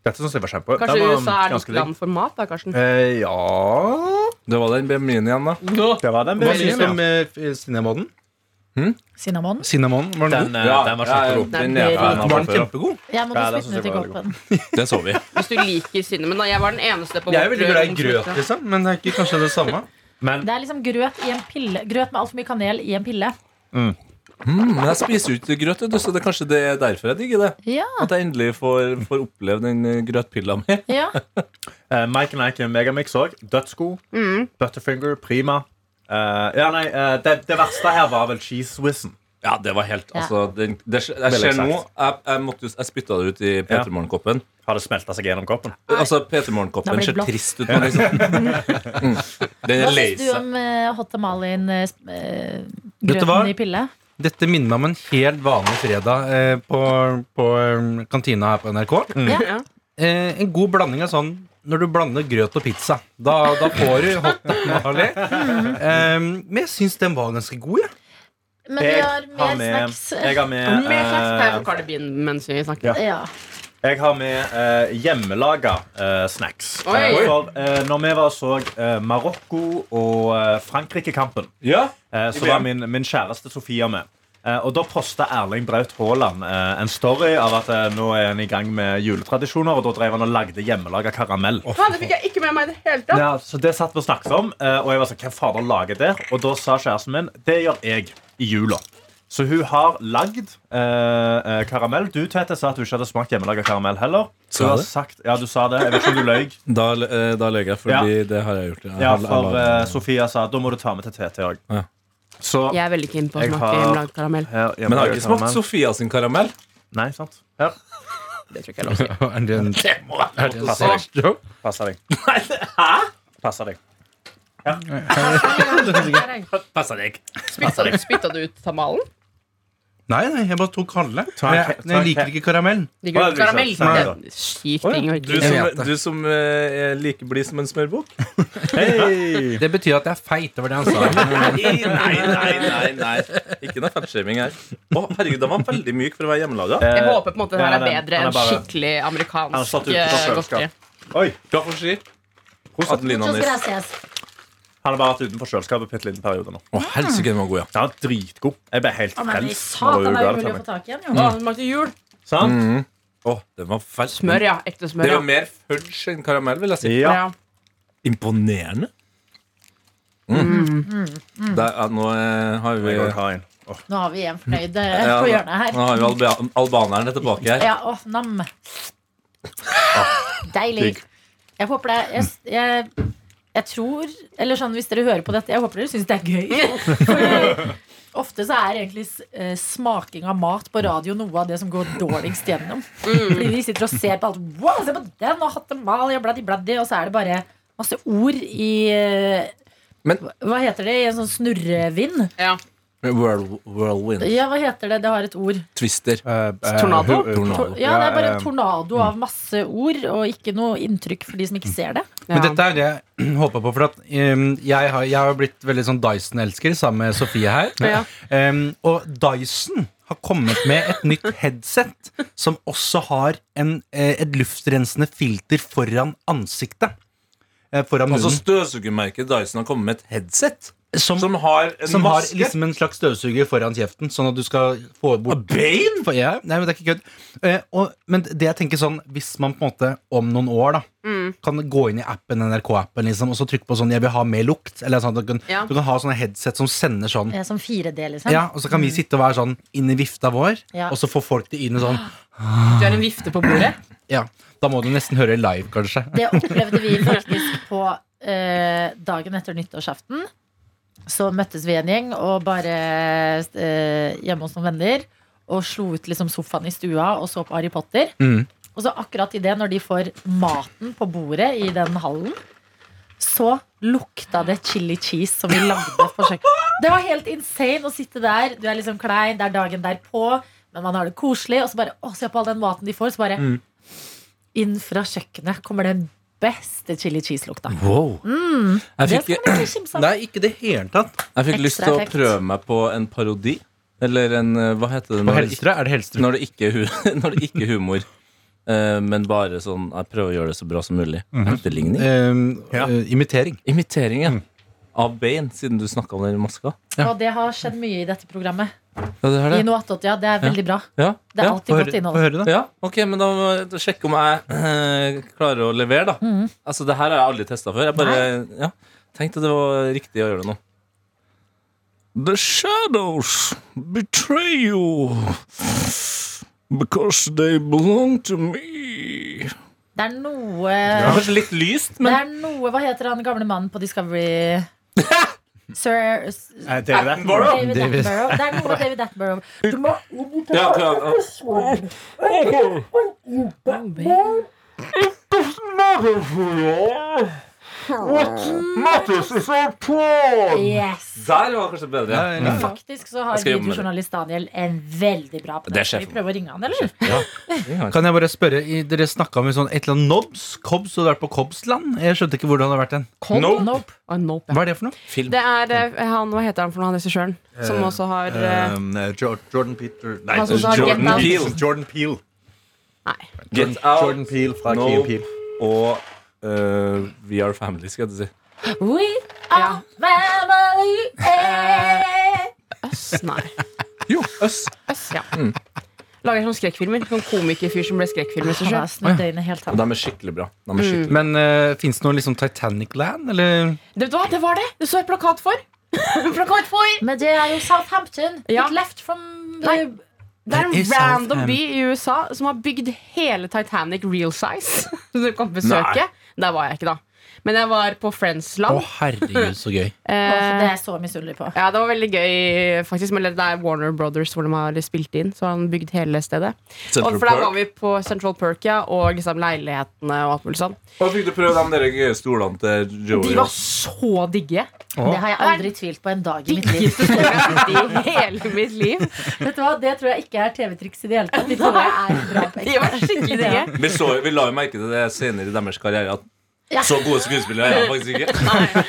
S9: Dette synes jeg var kjempe. Den
S4: Kanskje
S9: var
S4: USA er
S9: ganske
S4: litt
S9: digg.
S4: land for mat, da, Karsten.
S9: Eh, ja
S5: Det var den BMI-en igjen, da.
S9: Det var den
S6: Hva syns du
S9: bevegningen.
S6: om eh, cinnamonen?
S2: Cinnamon?
S6: Cinnamonen, var den god?
S9: Den, eh, den var kjempegod.
S5: den
S4: Nei,
S5: er-
S4: det er
S5: den
S6: Var
S5: er
S6: den
S5: kjempe-
S6: kjempegod?
S2: Jeg må
S9: Ja,
S2: ja,
S9: det
S2: spytte
S9: synes
S2: ut i
S9: jeg var veldig
S2: koppen.
S5: Det så vi.
S4: Hvis du liker cinnamon, da. Jeg var den eneste på
S6: Jeg er veldig
S4: vårt
S6: glad i
S4: rom som
S6: grøt,
S4: likte det.
S6: liksom, men det er ikke kanskje det samme.
S9: Men
S2: Det er liksom grøt i en pille Grøt med altfor mye kanel i en pille.
S5: Mm, men jeg spiser jo ikke grøt, vet du, så det er kanskje det er derfor jeg digger det.
S2: Ja,
S5: At jeg endelig får, får oppleve den eh, grøtpilla mi.
S2: ja.
S9: eh, Mike and Ike Megamix òg. Dødsgod.
S4: Mm.
S9: Butterfinger, prima. Eh, ja, nei, eh, det, det verste her var vel cheese whizzen.
S5: Ja, det var helt
S2: Ja.
S5: altså, den, det, sk- Jeg
S9: Veldig
S5: ser nå
S9: eksakt.
S5: Jeg, jeg, måtte, jo- jeg spytta det ut i P3 Morgen-koppen.
S9: Har det smelta seg gjennom koppen?
S5: Altså, P3
S2: Da blir
S5: Morgen-koppen
S2: det
S5: ser
S2: blått.
S5: trist ut nå, liksom. Mm. Den
S2: Hva
S5: er lei
S2: syns du
S5: seg.
S2: om eh, hot tamalien eh, sp- eh,
S6: Vet du
S2: grøten
S6: hva?
S2: i pille?
S6: Dette minner meg om en helt vanlig fredag eh, på, på eh, kantina her på NRK.
S4: Ja.
S6: Eh, en god blanding av sånn når du blander grøt og pizza. Da, da får du hot tamale. Eh, men jeg syns den var ganske god, jeg.
S2: Men vi har mer snacks.
S9: Jeg har med,
S4: Mer snacks kan jeg
S9: eh,
S4: få Cardi B mens vi snakker.
S9: Ja.
S2: Ja.
S9: jeg har med eh, hjemmelaga eh, snacks.
S4: Oi.
S9: Eh, for eh, når vi var og så eh, Marokko og eh, Frankrike-kampen,
S5: Ja.
S9: eh, så
S5: I
S9: var
S5: VM.
S9: min, min kjæreste Sofia med. Eh, og da posta Erling Braut Haaland eh, en story av at eh, nå er han i gang med juletradisjoner, og da drev han og lagde hjemmelaga karamell.
S4: Faen, det fikk jeg ikke med meg i det hele tatt.
S9: Ja, så Det satt vi og snakket om, eh, og jeg var sånn, hvem fader lager det? Og da sa kjæresten min det gjør jeg i jula. Så hun har lagd eh, eh, karamell. Du Tete, sa at du ikke hadde smakt hjemmelaga karamell heller.
S5: Sa
S9: du har
S5: jeg det?
S9: sagt, ja, du sa det. Jeg vet ikke om du løy.
S5: Da, eh, da løy jeg, fordi det har jeg gjort. Jeg
S9: Ja,
S5: har- jeg
S9: for
S5: har-
S9: eh, Sofia sa da må du ta med til Tete òg.
S5: Ja.
S9: Så
S4: Jeg er veldig keen på å
S9: Jeg
S4: smake
S9: har-
S4: hjemmelagd karamell.
S9: her,
S5: men har
S9: hjemmelaga
S5: ikke smakt
S9: karamell.
S5: Sofia sin karamell.
S9: Nei, sant? Her.
S4: Det tror jeg ikke jeg er lov å si.
S6: Er det en, er det en
S9: Passer deg.
S6: seriøs joke?
S9: Passer deg. Passer deg.
S4: Spytta du- Spytta du ut tamalen?
S6: Nei, nei, jeg bare tok halve.
S9: Ta en
S6: Jeg,
S9: ke- ta en
S6: jeg liker
S9: ke-
S6: ikke karamell.
S4: De
S9: Å,
S4: grønne
S9: det er
S4: karamell.
S9: sant. Nei,
S4: Det er Syk ting. å ikke-
S5: Du
S6: Jeg
S5: som,
S6: vet det.
S5: du som eh, er like blid som en smørbukk?
S9: Hei!
S6: Det betyr at jeg er feit, det var det han sa.
S5: Nei, nei, nei. nei, nei. Ikke noe fettshaming her. Å, herregud, den var veldig myk for å være hjemmelaga.
S4: Jeg håper på en måte det her
S9: Ja,
S4: er
S9: den-
S4: bedre
S9: den er
S4: enn
S9: bare-
S4: skikkelig
S9: Han har satt
S4: amerikansk
S9: ut på
S4: eh,
S9: kjøleskap.
S4: godteri.
S9: Oi,
S5: Hva får si? Adelina
S2: Muchas
S5: Nis.
S2: gracias.
S9: han har bare vært utenfor kjøleskapet en liten periode nå.
S5: Å, helsike, den var god, ja.
S9: Den var dritgod. Jeg ble helt
S2: Å, men i
S9: frelst. når
S2: satan,
S9: hun
S2: det
S9: ga
S2: er
S9: det til
S2: umulig å
S9: meg.
S2: få tak i en.
S4: Å,
S2: jo.
S4: den smakte jul.
S9: Sant?
S5: Å, den var fæl.
S4: Smør, ja. Ekte smør.
S5: Det
S4: Ja.
S5: var mer fudge enn karamell, vil jeg si.
S9: Ja.
S4: Ja.
S5: Imponerende. Mm. Der, ja, nå eh, har vi
S9: Jeg vil ha en. Åh,
S2: Nå har vi en fornøyd eh,
S5: Ja,
S2: på hjørnet her.
S5: Nå har vi alba albanerne tilbake her.
S2: Ja, åh, nam. Deilig. Jeg håper det jeg, jeg, jeg tror Eller sånn, hvis dere hører på dette, jeg håper dere syns det er gøy. Fordi Ofte så er egentlig s- eh, smaking av mat på radio noe av det som går dårligst gjennom. Fordi de sitter og ser på alt. Wow, se på den, og hatt en mal, og bladdi, bladdi, og så er det bare masse ord i eh,
S5: Men-
S2: Hva heter det? I en sånn snurrevind?
S4: Ja.
S5: Whirl, whirlwind.
S2: Ja, hva heter det? Det har et ord.
S5: Twister.
S4: Tornado?
S5: Tornado.
S2: Ja, det er bare en
S9: eh,
S2: tornado av masse ord og ikke noe inntrykk for de som ikke ser det.
S6: Men dette er det jeg håper på, for at um, jeg, har, jeg har blitt veldig sånn Dyson-elsker sammen med Sofie her.
S4: Ja.
S6: Um, og Dyson har kommet med et nytt headset som også har en, eh, et luftrensende filter foran ansiktet. Eh, Foran
S5: Altså
S6: munnen.
S5: Støvsugermerket Dyson har kommet med et headset
S6: Som,
S5: som har en
S6: som har
S5: maske.
S6: liksom en slags støvsuger foran kjeften, sånn at du skal få bort Bane? For, ja, nei, men det er ikke kødd. Eh, og, men det jeg tenker sånn, hvis man på en måte om noen år da, kan gå inn i appen, NRK-appen, liksom, og så trykke på sånn 'jeg vil ha mer lukt', eller sånn at du kan,
S4: Ja.
S6: du kan ha sånne headset som sender sånn
S2: Eh, Som 4D, liksom.
S6: ja, og så kan vi sitte og være sånn inni vifta vår,
S2: Ja.
S6: og så får folk det inn i sånn
S4: Du har en vifte på bordet.
S6: Ja, da må du nesten høre live, kanskje.
S2: Det opplevde vi faktisk på eh, dagen etter nyttårsaften. Så møttes vi en gjeng og bare eh, hjemme hos noen venner. Og slo ut liksom sofaen i stua og så på Harry Potter.
S6: Mm.
S2: Og så akkurat i det, når de får maten på bordet i den hallen, så lukta det chili cheese som vi lagde på kjøkkenet. Det var helt insane å sitte der. Du er liksom klein, det er dagen derpå, men man har det koselig. Og så bare, å, se på all den maten de får. Så bare inn fra kjøkkenet kommer den beste chili cheese-lukta.
S5: Wow. Jeg
S2: Det skal
S5: fikk,
S2: man ikke kimse av.
S6: Nei, ikke det hele tatt.
S5: jeg fikk lyst
S2: Ekstra
S5: til å
S2: effekt.
S5: prøve meg på en parodi. Eller en eh, Hva heter det?
S6: På
S5: når det
S6: Helsterud er det
S5: ikke-
S6: Helsterud.
S5: Når det ikke er hu- når det ikke er humor. Eh, men bare sånn Jeg prøver å gjøre det så bra som mulig. Etterligning.
S6: Eh,
S9: Ja.
S6: eh, imitering.
S5: Imitering, ja. Av Bane, siden du snakka om den maska.
S2: Og det har skjedd mye i dette programmet.
S5: Ja, det har
S2: I
S5: det.
S2: noe attåt, ja. Det er veldig bra.
S5: Ja,
S2: Det er
S5: ja.
S2: alltid godt innhold.
S6: høre, da.
S5: Ja, ok, men da må jeg sjekke om jeg eh, klarer å levere, da. Altså, det her har jeg aldri testa før. Jeg bare ja, tenkte det var riktig å gjøre det nå. The shadows betray you because they belong to me.
S2: Det er noe
S5: Det var kanskje litt lyst,
S2: Det
S5: men
S2: er noe Hva heter han gamle mannen på Discovery? Sir s-
S9: Eh, det er det.
S2: David Attenborough. Det er noe med David Attenborough. Du må
S5: ja, ja, ja.
S2: Yes!
S5: Der var det kanskje bedre.
S2: Faktisk så har
S5: Jeg skal jobbe med det.
S2: videojournalist Daniel en veldig bra på
S5: Det er
S2: det. Skal vi
S5: sjefen.
S2: prøve å ringe han, eller?
S6: Kan jeg bare spørre, i- dere snakka om en sånn, et eller annet Nobs? Kobs? Du har vært på Kobsland? Jeg skjønte ikke hvor du hadde vært hen.
S2: Kom,
S5: Nope.
S2: nope.
S4: Å, nope, ja.
S6: Hva er det for noe?
S4: Det er eh, han, hva heter han for noe, han regissøren? Som også har eh,
S9: Um, eh, Jo- Jordan Peter Nei,
S2: Han som sa
S5: Jordan
S2: Get Out.
S5: Peele.
S9: Jordan Peel.
S4: Nei.
S5: Get out
S9: Jordan Peel fra
S5: No.
S9: Key Peel.
S5: og eh, We Are Family, skal jeg si.
S2: We are family. eh.
S4: Øss, nei.
S5: Jo, øss.
S4: Øss, ja. Lager sånne skrekkfilmer. Sånn komikerfyr som ble skrekkfilmer.
S2: Han har
S4: regissør.
S2: snudd øynene helt
S5: Og
S2: av.
S5: de er skikkelig bra. De er skikkelig.
S6: Men uh, fins det noe liksom Titanic Land, eller?
S4: Det, vet du hva? det var det! Det så jeg plakat for. plakat for!
S2: Men det er jo Southampton.
S4: Ja.
S2: It left from
S4: Nei.
S2: the
S4: Det er
S6: Det er
S4: en random by i USA som har bygd hele Titanic real size. Så du kan besøke. Der var jeg ikke, da. Men jeg var på
S6: Å,
S4: Friends-land.
S6: herregud, så gøy.
S2: Å, for
S4: Eh,
S2: Det er jeg så misunnelig på.
S4: Ja, det var veldig gøy, faktisk. Men det er Warner Brothers hvor de har spilt inn. Så har han bygd hele stedet.
S5: Central
S4: og for der
S5: Perk.
S4: var vi på Central Perk, ja. Og liksom leilighetene og alt mulig sånn.
S5: Og fikk du prøve de der gøye stolene til Joey?
S4: De var så digge.
S2: Det har jeg aldri tvilt på en dag i mitt liv.
S4: Diggeste stolene jeg har sett i hele mitt liv.
S2: Vet du hva, Det tror jeg ikke er TV-triks i det hele tatt. De tror jeg er bra på
S4: De var skikkelig digge.
S5: Vi, så, vi la jo merke til det senere i deres karriere at
S2: Ja.
S5: så gode skuespillere er de faktisk ikke.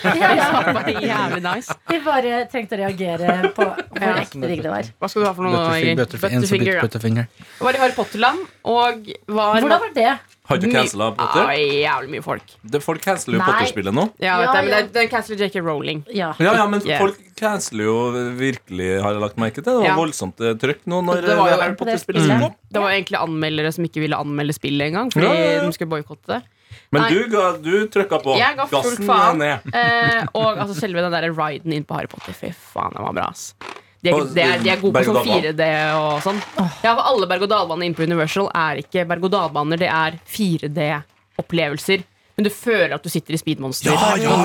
S2: Ja,
S4: Det
S2: ja.
S4: var bare jævlig nice.
S2: De bare trengte å reagere på hvor
S4: Ja.
S2: ekte digg det var.
S4: Hva skal du ha for noe?
S6: Butterfinger.
S4: Inger?
S6: Butterfinger, en som
S4: Butterfinger,
S6: heter
S4: ja.
S6: Butterfinger.
S4: Var i Harry Potter-land og var
S2: Hvordan var det?
S5: Har du
S4: Mye-
S5: cancela
S4: Ja,
S5: Potter?
S4: jævlig mye folk.
S5: Det- Folk canceler jo
S2: Nei.
S5: Potter-spillet nå.
S4: Ja, vet
S2: Ja,
S4: jeg, men
S2: ja.
S4: det er- Den canceler JK Rowling.
S2: Ja.
S5: Ja, ja, men
S4: Ikke.
S5: folk canceler jo virkelig, har jeg lagt merke til. Det var
S4: Ja.
S5: voldsomt eh, trøkk nå når
S4: Det var jo
S5: eh, Harry
S2: på det
S5: Potter-spillet
S2: spillet.
S5: skulle komme.
S4: Det var egentlig anmeldere som ikke ville anmelde spillet engang. Fordi
S5: Ja, ja, ja.
S4: de skulle boikotte det.
S5: Men
S4: Nei.
S5: du, ga- du trykka på.
S4: Jeg ga full
S5: Gassen
S4: faen.
S5: ned.
S4: Eh, og altså, selve den der riden inn på Harry Potter, fy faen, den var bra. ass de er,
S5: Og
S4: de, er, de er gode på sånn
S5: berg-og-dal-banen.
S4: 4D og sånn. Ja, for Alle berg-og-dal-baner inne på Universal er ikke berg-og-dal-baner, det er 4D-opplevelser. Men du føler at du sitter i speedmonster.
S2: Nei, jeg går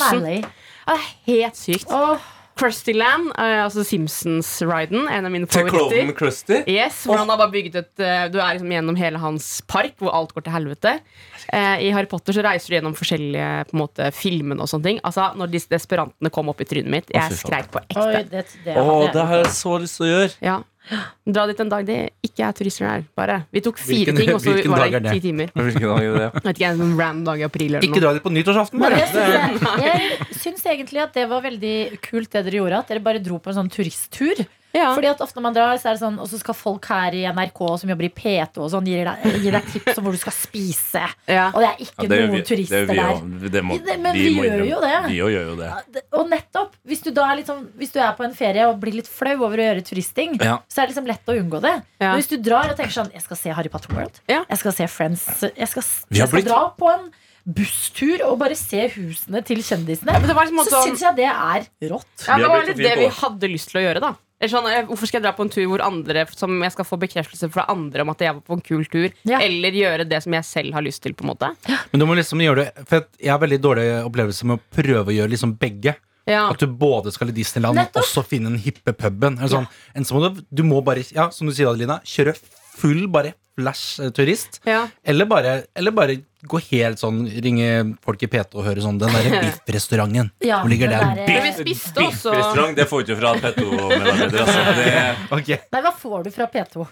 S2: Mally.
S4: Ja, det er helt sykt.
S2: Åh,
S4: Krustyland, eh, altså Simpsons-riden, en av mine
S5: Til klovnen
S4: favoritter.
S5: Krusty.
S4: Yes, hvor han har bare bygget et eh, Du er liksom gjennom hele hans park, hvor alt går til helvete. Eh, I Harry Potter så reiser du gjennom forskjellige på en måte, filmene og sånne ting. Altså, Når disse desperantene kom opp i trynet mitt,
S5: fy
S4: jeg
S5: faen.
S4: skreik på
S2: oi,
S4: ekte.
S2: det, det,
S5: Å, det
S2: det.
S5: har jeg så lyst til å gjøre.
S4: Ja. Dra dit en dag det ikke er turister der. bare Vi tok fire
S6: Hvilken-
S4: ting, og så
S6: hvilken
S4: var
S6: dag er
S4: det
S6: det?
S4: ti timer.
S5: Hvilken dag er det?
S4: Jeg vet ikke, en random dag i april eller
S6: Ikke
S4: noe.
S6: dra dit på nyttårsaften, bare.
S2: Jeg syns, jeg, jeg syns egentlig at det var veldig kult det dere gjorde. At dere bare dro på en sånn turisttur.
S4: Ja.
S2: Fordi at ofte når man drar, så er det sånn Og så skal folk her i NRK som jobber i PT og sånn, gi deg, gi deg tips om hvor du skal spise.
S4: Ja.
S2: Og det er ikke
S5: Ja, det gjør
S2: noen
S5: vi-
S2: turister
S5: det gjør vi
S2: der.
S5: jo. Det må,
S2: Ja, det- men vi
S5: må
S2: gjør
S5: innrømme-
S2: jo det.
S5: Vi jo gjør jo det.
S2: Det- Og nettopp, hvis du, da er litt sånn- hvis du er på en ferie og blir litt flau over å gjøre turisting,
S5: Ja.
S2: så er det liksom lett å unngå det.
S4: Ja.
S2: Men hvis du drar og tenker sånn Jeg skal se Harry Potter World.
S4: Ja.
S2: Jeg skal se Friends. Jeg skal, s-
S5: Vi har
S2: jeg skal
S5: blitt-
S2: dra på en busstur og bare se husene til kjendisene.
S4: Men det var liksom
S2: Så
S4: også,
S2: syns jeg det er rått.
S4: ja,
S5: Vi
S4: det var
S5: har blitt
S4: litt det
S5: så fine på
S4: vi
S5: det.
S4: hadde lyst til å gjøre, da. Eller Sånn, eh, hvorfor skal jeg dra på en tur hvor andre Som jeg skal få bekreftelse fra andre om at jeg var på en kul tur?
S2: Ja.
S4: Eller gjøre det som jeg selv har lyst til, på en måte.
S6: Men du må liksom gjøre det For at jeg har veldig dårlig opplevelse med å prøve å gjøre liksom begge.
S4: Ja.
S6: At du både skal i Disneyland
S2: Nettopp.
S6: og så finne den hippe puben. Eller sånn. En så må du, du må bare, ja, som du sier, Adelina, kjøre full bare flash-turist.
S4: Ja.
S6: Eller, bare, eller bare gå helt sånn, ringe folk i PT og høre sånn Den derre biffrestauranten.
S2: Ja,
S6: Hvor ligger
S2: den
S6: den?
S2: der-
S4: Men vi spiste også
S5: Biffrestaurant, det får du ikke fra Petto-medarbeidere. Altså. Det-
S6: Ok.
S2: Nei, hva får du fra P2?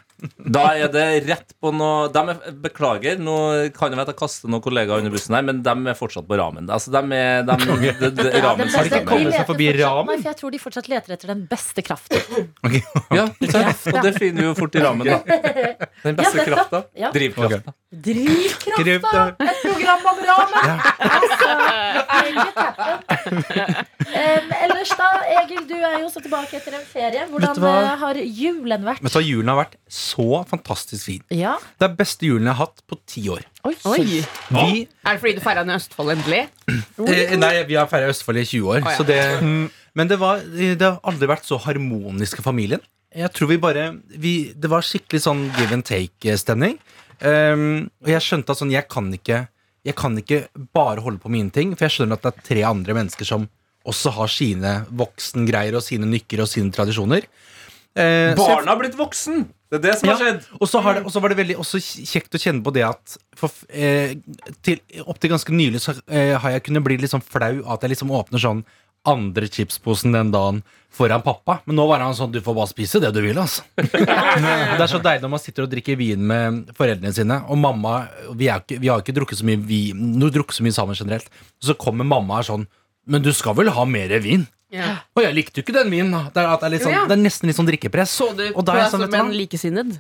S5: Da er det rett på noe de er, Beklager, nå kan jeg vet jeg kaster noen kollegaer under bussen her, men de er fortsatt på ramen. Altså, de er de, de, de, ramen
S2: Den
S6: Har de ikke
S2: beste-
S6: kommet
S2: de
S6: seg
S2: leter
S6: forbi
S2: fortsatt-
S6: ramen?
S2: Nei, for jeg tror de fortsatt leter etter den beste kraften.
S6: Ok.
S5: Ja, ikke sant? og det finner vi jo fort i ramen, da. Den beste
S2: Ja, nettopp.
S5: krafta.
S2: Ja.
S5: Drivkrafta.
S2: Drivkrafta! Et program om ramen! Altså, make it happen. Em, ellers da, Egil, du er jo også tilbake etter en ferie.
S6: Vet du
S2: Hvordan
S6: hva?
S2: eh, har julen vært?
S6: Men så har julen har vært så fantastisk fin.
S2: Ja.
S6: Det er beste julen jeg har hatt på ti år.
S4: Oi.
S6: Vi
S4: Er det fordi du feira den i Østfold endelig?
S6: Eh, nei, vi har feira Østfold i 20 år.
S4: Å, ja.
S6: så det, men det, var, det har aldri vært så harmonisk i familien. Jeg tror vi bare vi, Det var skikkelig sånn give and take-stemning. Um, og jeg skjønte at sånn Jeg kan ikke Jeg kan ikke bare holde på mine ting, for jeg skjønner at det er tre andre mennesker som også har sine voksengreier og sine nykker og sine tradisjoner. Eh, så jeg-
S5: Barna har blitt voksen! Det er det som har
S6: Ja.
S5: skjedd.
S6: og så har det,
S4: Mm.
S6: og så var det veldig også kjekt å kjenne på det at for, f- eh, til, Opp til ganske nylig så eh, har jeg kunnet bli litt sånn flau av at jeg liksom åpner sånn andre chipsposen den dagen foran pappa. Men nå var han sånn Du får bare spise det du vil, altså. det er så deilig når man sitter og drikker vin med foreldrene sine. Og mamma Vi, er ikke, vi har ikke drukket så mye vin nå drukket så mye sammen generelt. Og så kommer mamma og er sånn Men du skal vel ha mer vin?
S4: Ja.
S6: Og jeg likte jo ikke den vinen. da. Det er, at det er, litt sånn,
S4: Jo, ja.
S6: det er nesten litt sånn drikkepress.
S4: Så du
S6: Og
S4: på
S6: da er jeg
S4: deg
S6: sånn,
S4: som
S6: vet du hva?
S4: en likesinnet?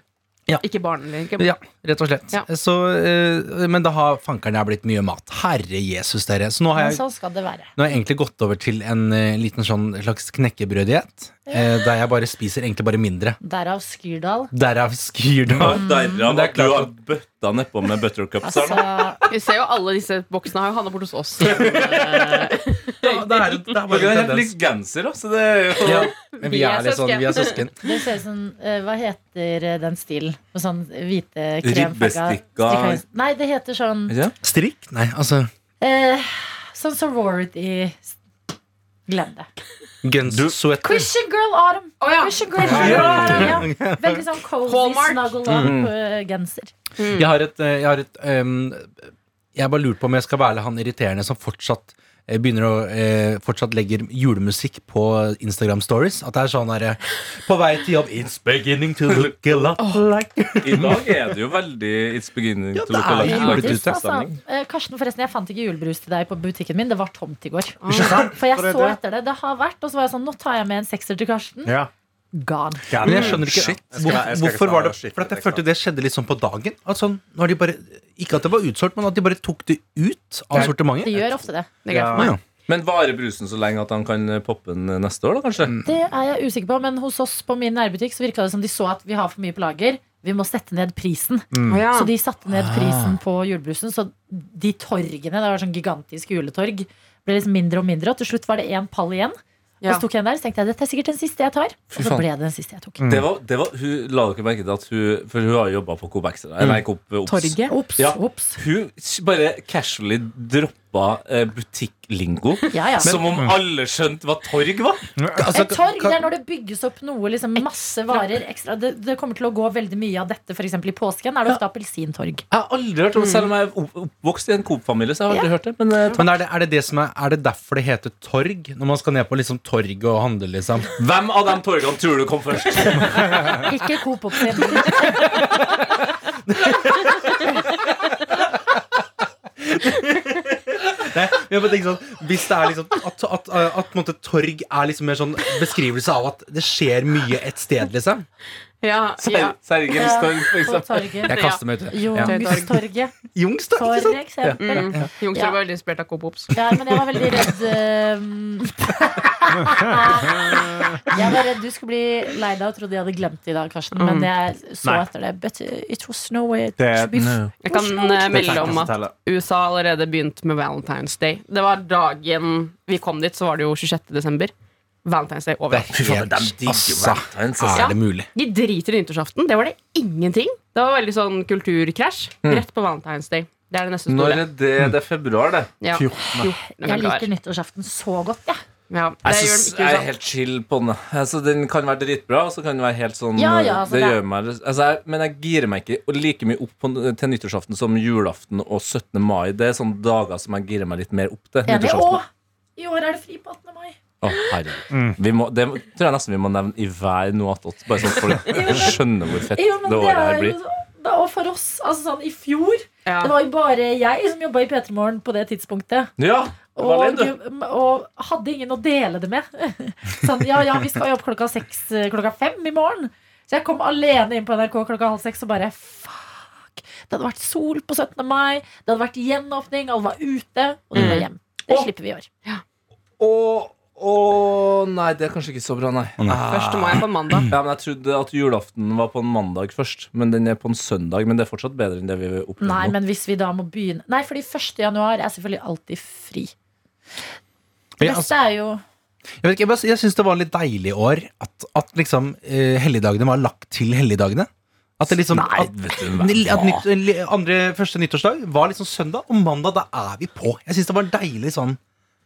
S6: Ja.
S4: Ikke barnlig? Ikke...
S6: Ja, rett og slett.
S4: Ja.
S6: Så, eh, men da har fankeren jeg blitt mye mat. Herre Jesus, dere. Så nå har
S2: Men
S6: jeg,
S2: sånn skal det være.
S6: nå har jeg egentlig gått over til en eh, liten sånn slags knekkebrøddiett. eh, der jeg bare spiser egentlig bare mindre.
S2: Derav Skyrdal.
S6: Derav Skyrdal.
S5: Derav
S6: det er
S5: at du
S6: klart
S5: har bøtta nedpå med buttercups.
S2: Altså,
S5: her nå.
S4: Vi ser jo alle disse boksene har jo havna bort hos oss.
S6: Ja, det er- det er
S5: Dere
S6: bare
S5: er
S6: en
S5: helt
S6: tendens.
S5: like gensere, så det er jo
S6: Ja, men vi
S4: Vi er
S6: er litt sånn, vi er søsken.
S2: det ser ut som eh, Hva heter eh, den stilen? Med sånn hvite kremfarga
S5: Ribbestikka.
S2: Nei, det heter sånn
S5: Ja.
S6: Strikk? Nei, altså
S2: eh, Sånn sorority Glem det.
S6: Guns, sweater.
S2: Christian Girl Autumn.
S4: Å ja.
S2: Christian Girl Autumn. Ja. Veldig sånn cozy,
S4: Hallmark.
S2: snuggle eh, up-genser.
S6: Jeg har et, eh, jeg har et ehm, Jeg bare lurer på om jeg skal være han irriterende som fortsatt eh, begynner å eh, fortsatt legger julemusikk på Instagram stories. At det er sånn derre På vei til jobb It's beginning to look a lot like
S5: I dag er det jo veldig It's beginning
S6: Ja,
S5: to
S6: det
S5: look
S6: er
S5: alike.
S6: jo
S5: like
S6: blitt
S5: this
S6: ute.
S5: stemning.
S2: Altså, eh, Karsten, forresten, jeg fant ikke julebrus til deg på butikken min. Det var tomt i går. Mm.
S6: Ikke sant?
S2: For jeg
S9: For det er
S2: så
S9: det.
S2: etter det. Det har vært. Og så var jeg sånn, nå tar jeg med en sekser til Karsten.
S9: Ja.
S2: Gone.
S6: Men jeg skjønner ikke
S9: Shit.
S6: hvor,
S9: Jeg skal- jeg skal ikke
S6: hvorfor
S9: ta
S6: var det
S9: skikkelig liksom.
S6: For at jeg
S9: ekstra.
S6: følte det skjedde litt sånn på dagen. At sånn, nå har de bare, ikke at det var utsolgt, men at de bare tok det ut av
S2: Det
S6: sortimentet.
S2: gjør ofte det.
S4: Det er greit for
S6: Ja,
S4: meg.
S6: ja.
S5: Men varer brusen så lenge at han kan poppe den neste år, da kanskje?
S2: Det er jeg usikker på, men hos oss på min nærbutikk så virka det som de så at vi har for mye på lager. Vi må sette ned prisen.
S4: Å ja.
S2: Så de satte
S6: Ah.
S2: ned prisen på julebrusen. Så de torgene, det var sånn gigantisk juletorg, ble liksom mindre og mindre. Og til slutt var det én pall igjen.
S4: Ja.
S2: Og så tok jeg en der, så tenkte jeg dette er sikkert den siste jeg tar.
S5: Fy
S2: Og så
S5: faen.
S2: ble det den siste jeg tok.
S6: Mm.
S5: Det var, det var, hun la dere merke til at hun For hun har jobba på Coop Extra. Nei, Coop Obs.
S4: Torget.
S2: Ops,
S5: Ja.
S2: Mm. ops.
S5: Hun s- bare casually droppa eh, butikklingo.
S2: Ja, ja.
S5: Som om alle skjønte hva torg var!
S6: Altså,
S2: Et torg
S6: kan-
S2: det er når det bygges opp noe, liksom masse varer ekstra. Det, det kommer til å gå veldig mye av dette, f.eks. i påsken. Er det ofte appelsintorg?
S5: Jeg har aldri hørt om det, selv om jeg er opp- oppvokst i en Coop-familie. Så jeg har aldri hørt det Men eh,
S6: Men er det, er, det det som er, er det derfor det heter torg? Når man skal ned på liksom torg og handle, liksom?
S5: hvem av de torgene tror du kom først?
S2: Ikke Coop Oppsyn.
S6: Nei, Ja, men tenk sånn, hvis det er liksom At, at, at på en måte, torg er liksom mer sånn beskrivelse av at det skjer mye et sted, liksom.
S4: Ja, ja.
S5: Sergens torg, for
S2: På
S5: eksempel.
S2: torget.
S6: Jeg kaster meg ut. Ja.
S2: Youngstorget,
S6: Youngstorg, ikke
S2: for
S6: sant?
S2: eksempel.
S4: Youngstorget var veldig inspirert av Coop-Ops.
S2: Ja, men jeg var veldig redd eh, Jeg var redd du skulle bli lei deg og trodde jeg hadde glemt det i dag, Karsten. Men jeg så
S9: Nei.
S2: etter det. But uh, it was no way to
S9: Det-
S2: be
S4: Jeg kan eh,
S9: Det er
S4: melde om
S9: teknisk
S4: at
S9: tale.
S4: USA allerede begynt med Valentine's Day. Det var dagen vi kom dit, så var det jo 26. desember. Valentine's Day over.
S6: Fy faen, de digger Valentine's, altså.
S4: Ja.
S6: Er det mulig?
S4: De driter i nyttårsaften. Det var det ingenting. Det var veldig sånn kulturkrasj. Rett på Valentine's Day. Det er det neste
S5: Mm. Når
S4: store.
S5: er det? Det er februar, det.
S4: Ja. 14.
S2: Jeg liker nyttårsaften så godt, jeg.
S4: ja, det
S5: Jeg,
S4: gjør
S5: synes,
S4: den ikke sånn. i
S5: jeg er
S4: USA.
S5: helt chill på den. Altså, den kan være dritbra, og så kan den være helt sånn
S2: Ja, ja, altså,
S5: det
S2: det-
S5: gjør meg, altså, jeg, Men jeg girer meg ikke og like mye opp på, til nyttårsaften som julaften og 17. mai. Det er sånne dager som jeg girer meg litt mer opp til.
S2: Enig. Og
S5: Nyttårsaften.
S2: i år er det fri på 18. mai.
S5: Å, herregud. Vi må, det tror jeg nesten vi må nevne i hver noe attåt, bare sånn at folk skjønner hvor fett
S2: Jo, men
S5: det
S2: det
S5: året her
S2: er jo
S5: blir.
S2: så- da, Og for oss, altså sånn i fjor
S4: Ja.
S2: Det var jo bare jeg som jobba i P3 Morgen på det tidspunktet.
S5: Ja, det var
S2: Og,
S5: litt, du.
S2: og hadde ingen å dele det med. Sånn, ja, ja, vi skal jo opp klokka seks, eh, klokka fem i morgen. Så jeg kom alene inn på NRK klokka halv seks og bare fuck. Det hadde vært sol på 17. mai, det hadde vært gjenåpning, alle var ute, og
S6: Mm.
S2: de var hjem. Det slipper vi i år.
S5: Å, å nei, det er kanskje ikke så bra, nei. Ah.
S4: Første mai på mandag.
S5: Ja, men Jeg trodde at julaften var på en mandag først, men den er på en søndag. Men det er fortsatt bedre enn det vi
S6: Mm.
S5: opplevde
S2: Nei,
S5: nå.
S2: men hvis vi da må begynne Nei, fordi 1. januar er selvfølgelig alltid fri. Det
S6: Ja, altså,
S2: beste er jo
S6: jeg vet ikke, jeg, bare- jeg syns det var litt deilig i år at, at liksom eh, helligdagene var lagt til helligdagene. At det liksom
S5: Nei,
S6: at,
S5: vet du hva.
S6: at nytt, li- andre, Første nyttårsdag var liksom søndag, og mandag da er vi på. Jeg syns det var en deilig sånn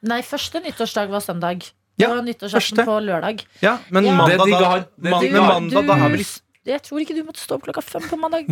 S2: Nei, første nyttårsdag var søndag. Det
S6: Ja,
S2: var nyttårsaften
S6: første.
S2: på lørdag.
S6: Ja, men
S2: Ja.
S6: mandag
S5: Det digger
S6: da
S5: han. Det
S6: man-
S5: digger
S6: men
S2: han.
S6: mandag da er vi
S2: Du-
S6: liksom
S2: Jeg tror ikke du måtte stå opp klokka fem på mandag.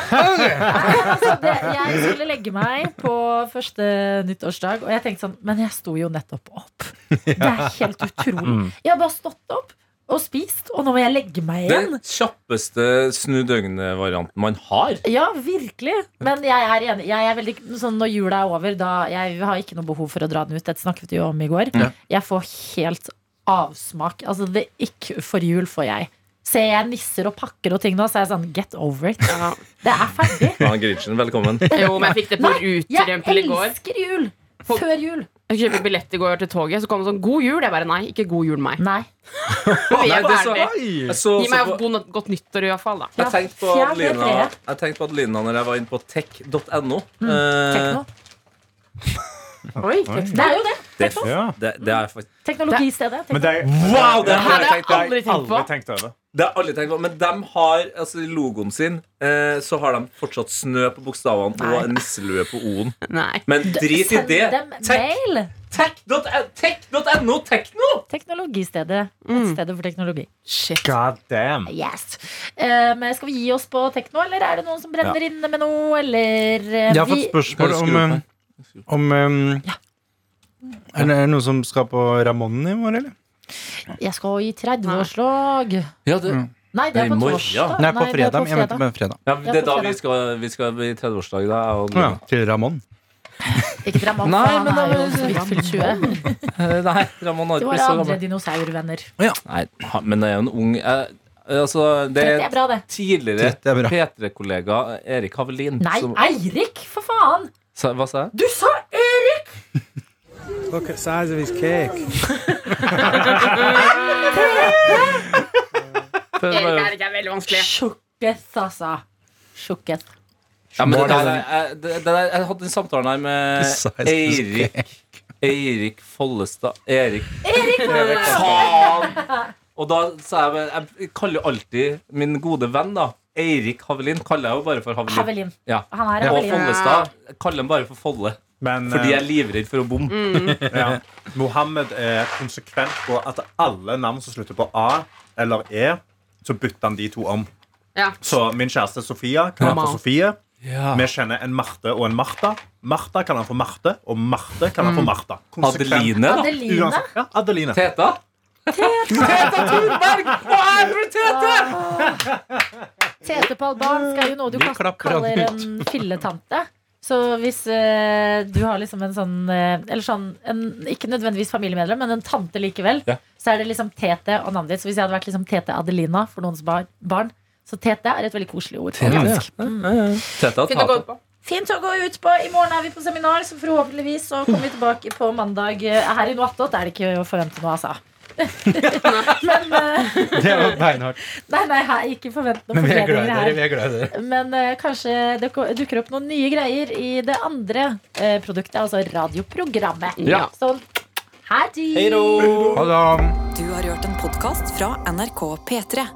S2: altså, det, jeg skulle legge meg på første nyttårsdag, og jeg tenkte sånn Men jeg sto jo nettopp opp. Det er helt utrolig.
S6: Mm.
S2: Jeg har bare stått opp og spist, og nå må jeg legge meg igjen.
S5: Den kjappeste snu døgnet-varianten man har.
S2: Ja, virkelig. Men jeg er enig. Jeg er veldig, sånn, når jula er over, da Jeg har ikke noe behov for å dra den ut. Dette snakket vi jo om i går. Jeg får helt avsmak. Altså, det ikke for jul får jeg. Ser jeg nisser og pakker og ting nå, så er jeg sånn Get over it.
S4: Ja.
S2: Det er ferdig.
S5: Ja, Grinchen, velkommen.
S4: Jo, men jeg fikk det på
S2: Nei, Jeg
S4: utrempel i går.
S2: elsker jul! Før jul.
S4: Jeg kjøpte billett i går til toget, så kom det sånn 'God jul'. Jeg bare nei, ikke 'God jul' meg.
S2: Nei.
S4: Vi er
S5: det er så-
S4: ferdig.
S5: Jeg, så,
S4: Gi meg
S5: så på,
S4: god, natt- godt nyttår, iallfall.
S5: jeg tenkte på
S2: Fjern det
S5: Adelina
S2: treet. Mm.
S5: Jeg tenkte på Adelina når jeg var inne på tech.no.
S2: Tekno.
S5: Eh,
S4: Oi.
S2: Det er jo det.
S5: det,
S9: Ja.
S5: det, det er faktisk
S2: Teknologistedet.
S9: Men det,
S5: Wow, det
S9: det
S5: her
S4: har jeg aldri tenkt på.
S9: aldri tenkt over.
S5: Det har jeg aldri tenkt på, men de har altså, i logoen sin eh, så har de fortsatt snø på bokstavene og en nisselue på O-en.
S4: Nei.
S5: Men drit i
S2: Send
S5: det.
S2: dem
S5: Tech-
S2: mail.
S5: Tech.no, tech.no, Tekno!
S2: Teknologistedet.
S4: Mm.
S2: Nettstedet for teknologi.
S4: Shit.
S9: God damn.
S2: Yes. Eh, men skal vi gi oss på tekno, eller er det noen som brenner inne med noe, eller eh,
S6: Jeg har fått
S2: vi,
S6: spørsmål
S5: Kan du
S6: om
S5: skru opp
S6: um, Om um, Er det noen som skal på Ramonen i morgen, eller?
S2: Jeg skal i 30-årslag.
S5: Ja, det,
S2: Nei, det
S5: Nei,
S2: er på
S5: i morgen.
S2: torsdag.
S6: Nei, på
S2: det er
S6: fredag. Jeg
S2: fredag.
S6: mente på fredag.
S5: ja, det er da
S2: fredag.
S5: vi skal, vi skal i 30-årsdag. da, og-
S6: Ja, til Ramon.
S2: Ikke Dramon,
S5: Nei,
S2: for
S5: men
S2: han er
S5: det
S2: jo
S5: er-
S2: så vidt fylt 20.
S5: Eh, Nei, Ramon har
S2: Det var
S5: ikke blitt så
S2: andre
S5: gammel.
S2: dinosaurvenner.
S5: Nei, han- men det er jo en ung eh, Altså, det
S2: Det
S5: er
S2: er bra, det.
S5: tidligere
S6: Det er bra.
S5: P3-kollega Erik Havelin
S2: Nei,
S5: som
S2: Eirik, for faen!
S5: sa, Hva sa jeg?
S2: Du sa Erik!
S10: Look at size of his cake.
S5: Bah,
S4: Erik
S5: euh,
S4: er ikke veldig vanskelig.
S2: Sjukket, altså. Sjukket.
S5: Ja, men det der, jeg, det, det der, jeg hadde en samtale her med Eirik Eirik Follestad Erik Erik Faen! Og da sa jeg vel- Jeg kaller jo alltid min gode venn, da. Eirik Havelin kaller jeg jo bare for Havelin.
S2: Havelin.
S5: Ja.
S2: Han er
S5: Og
S2: Havelin.
S5: Follestad jeg kaller han bare for Folle.
S9: Men
S5: Fordi
S9: eh,
S5: jeg er livredd for å bomme.
S2: Mm.
S9: ja. Mohammed er konsekvent på at alle navn som slutter på A eller E, så bytter han de to om.
S4: Ja.
S9: Så min kjæreste Sofia kan han få
S4: Mamma.
S9: Sofie.
S5: Ja.
S9: Vi kjenner en Marte og en Martha. Martha kan han få Marte, og Marte kan
S4: Mm.
S9: han få Martha. Konsekvent.
S5: Adeline, da.
S2: Adeline.
S9: Uansett. Ja, Adeline.
S5: Teta. Teta Thunberg! Og jeg heter Tete!
S2: Tete på albansk er jo noe du
S6: Vi
S2: kast-
S6: klapper han
S2: kaller
S6: ut.
S2: en filletante. Så hvis eh, du har liksom en sånn eh, Eller sånn, en, ikke nødvendigvis familiemedlem, men en tante likevel,
S5: Ja.
S2: så er det liksom Tete og navnet ditt. Så hvis jeg hadde vært liksom Tete Adelina for noens bar, barn, så Tete er et veldig koselig ord. på dansk.
S5: Teta,
S4: Fint å gå
S5: tata.
S4: ut på.
S2: Fint å gå ut på. I morgen er vi på seminar, så forhåpentligvis så kommer vi tilbake på mandag. Eh, Her i Noattot er det ikke å forvente noe, altså. men eh,
S6: Det er jo beinhardt.
S2: Nei, nei, her, ikke forvent noen
S6: Men vi er glad
S2: forbedringer
S6: i dere.
S2: her.
S6: vi er glad i dere
S2: Men eh, kanskje det ko- dukker opp noen nye greier i det andre eh, produktet, altså radioprogrammet.
S4: Ja.
S2: Sånn. Hei,
S5: Hei då!
S6: Ha det.
S1: Du har hørt en podkast fra NRK P3.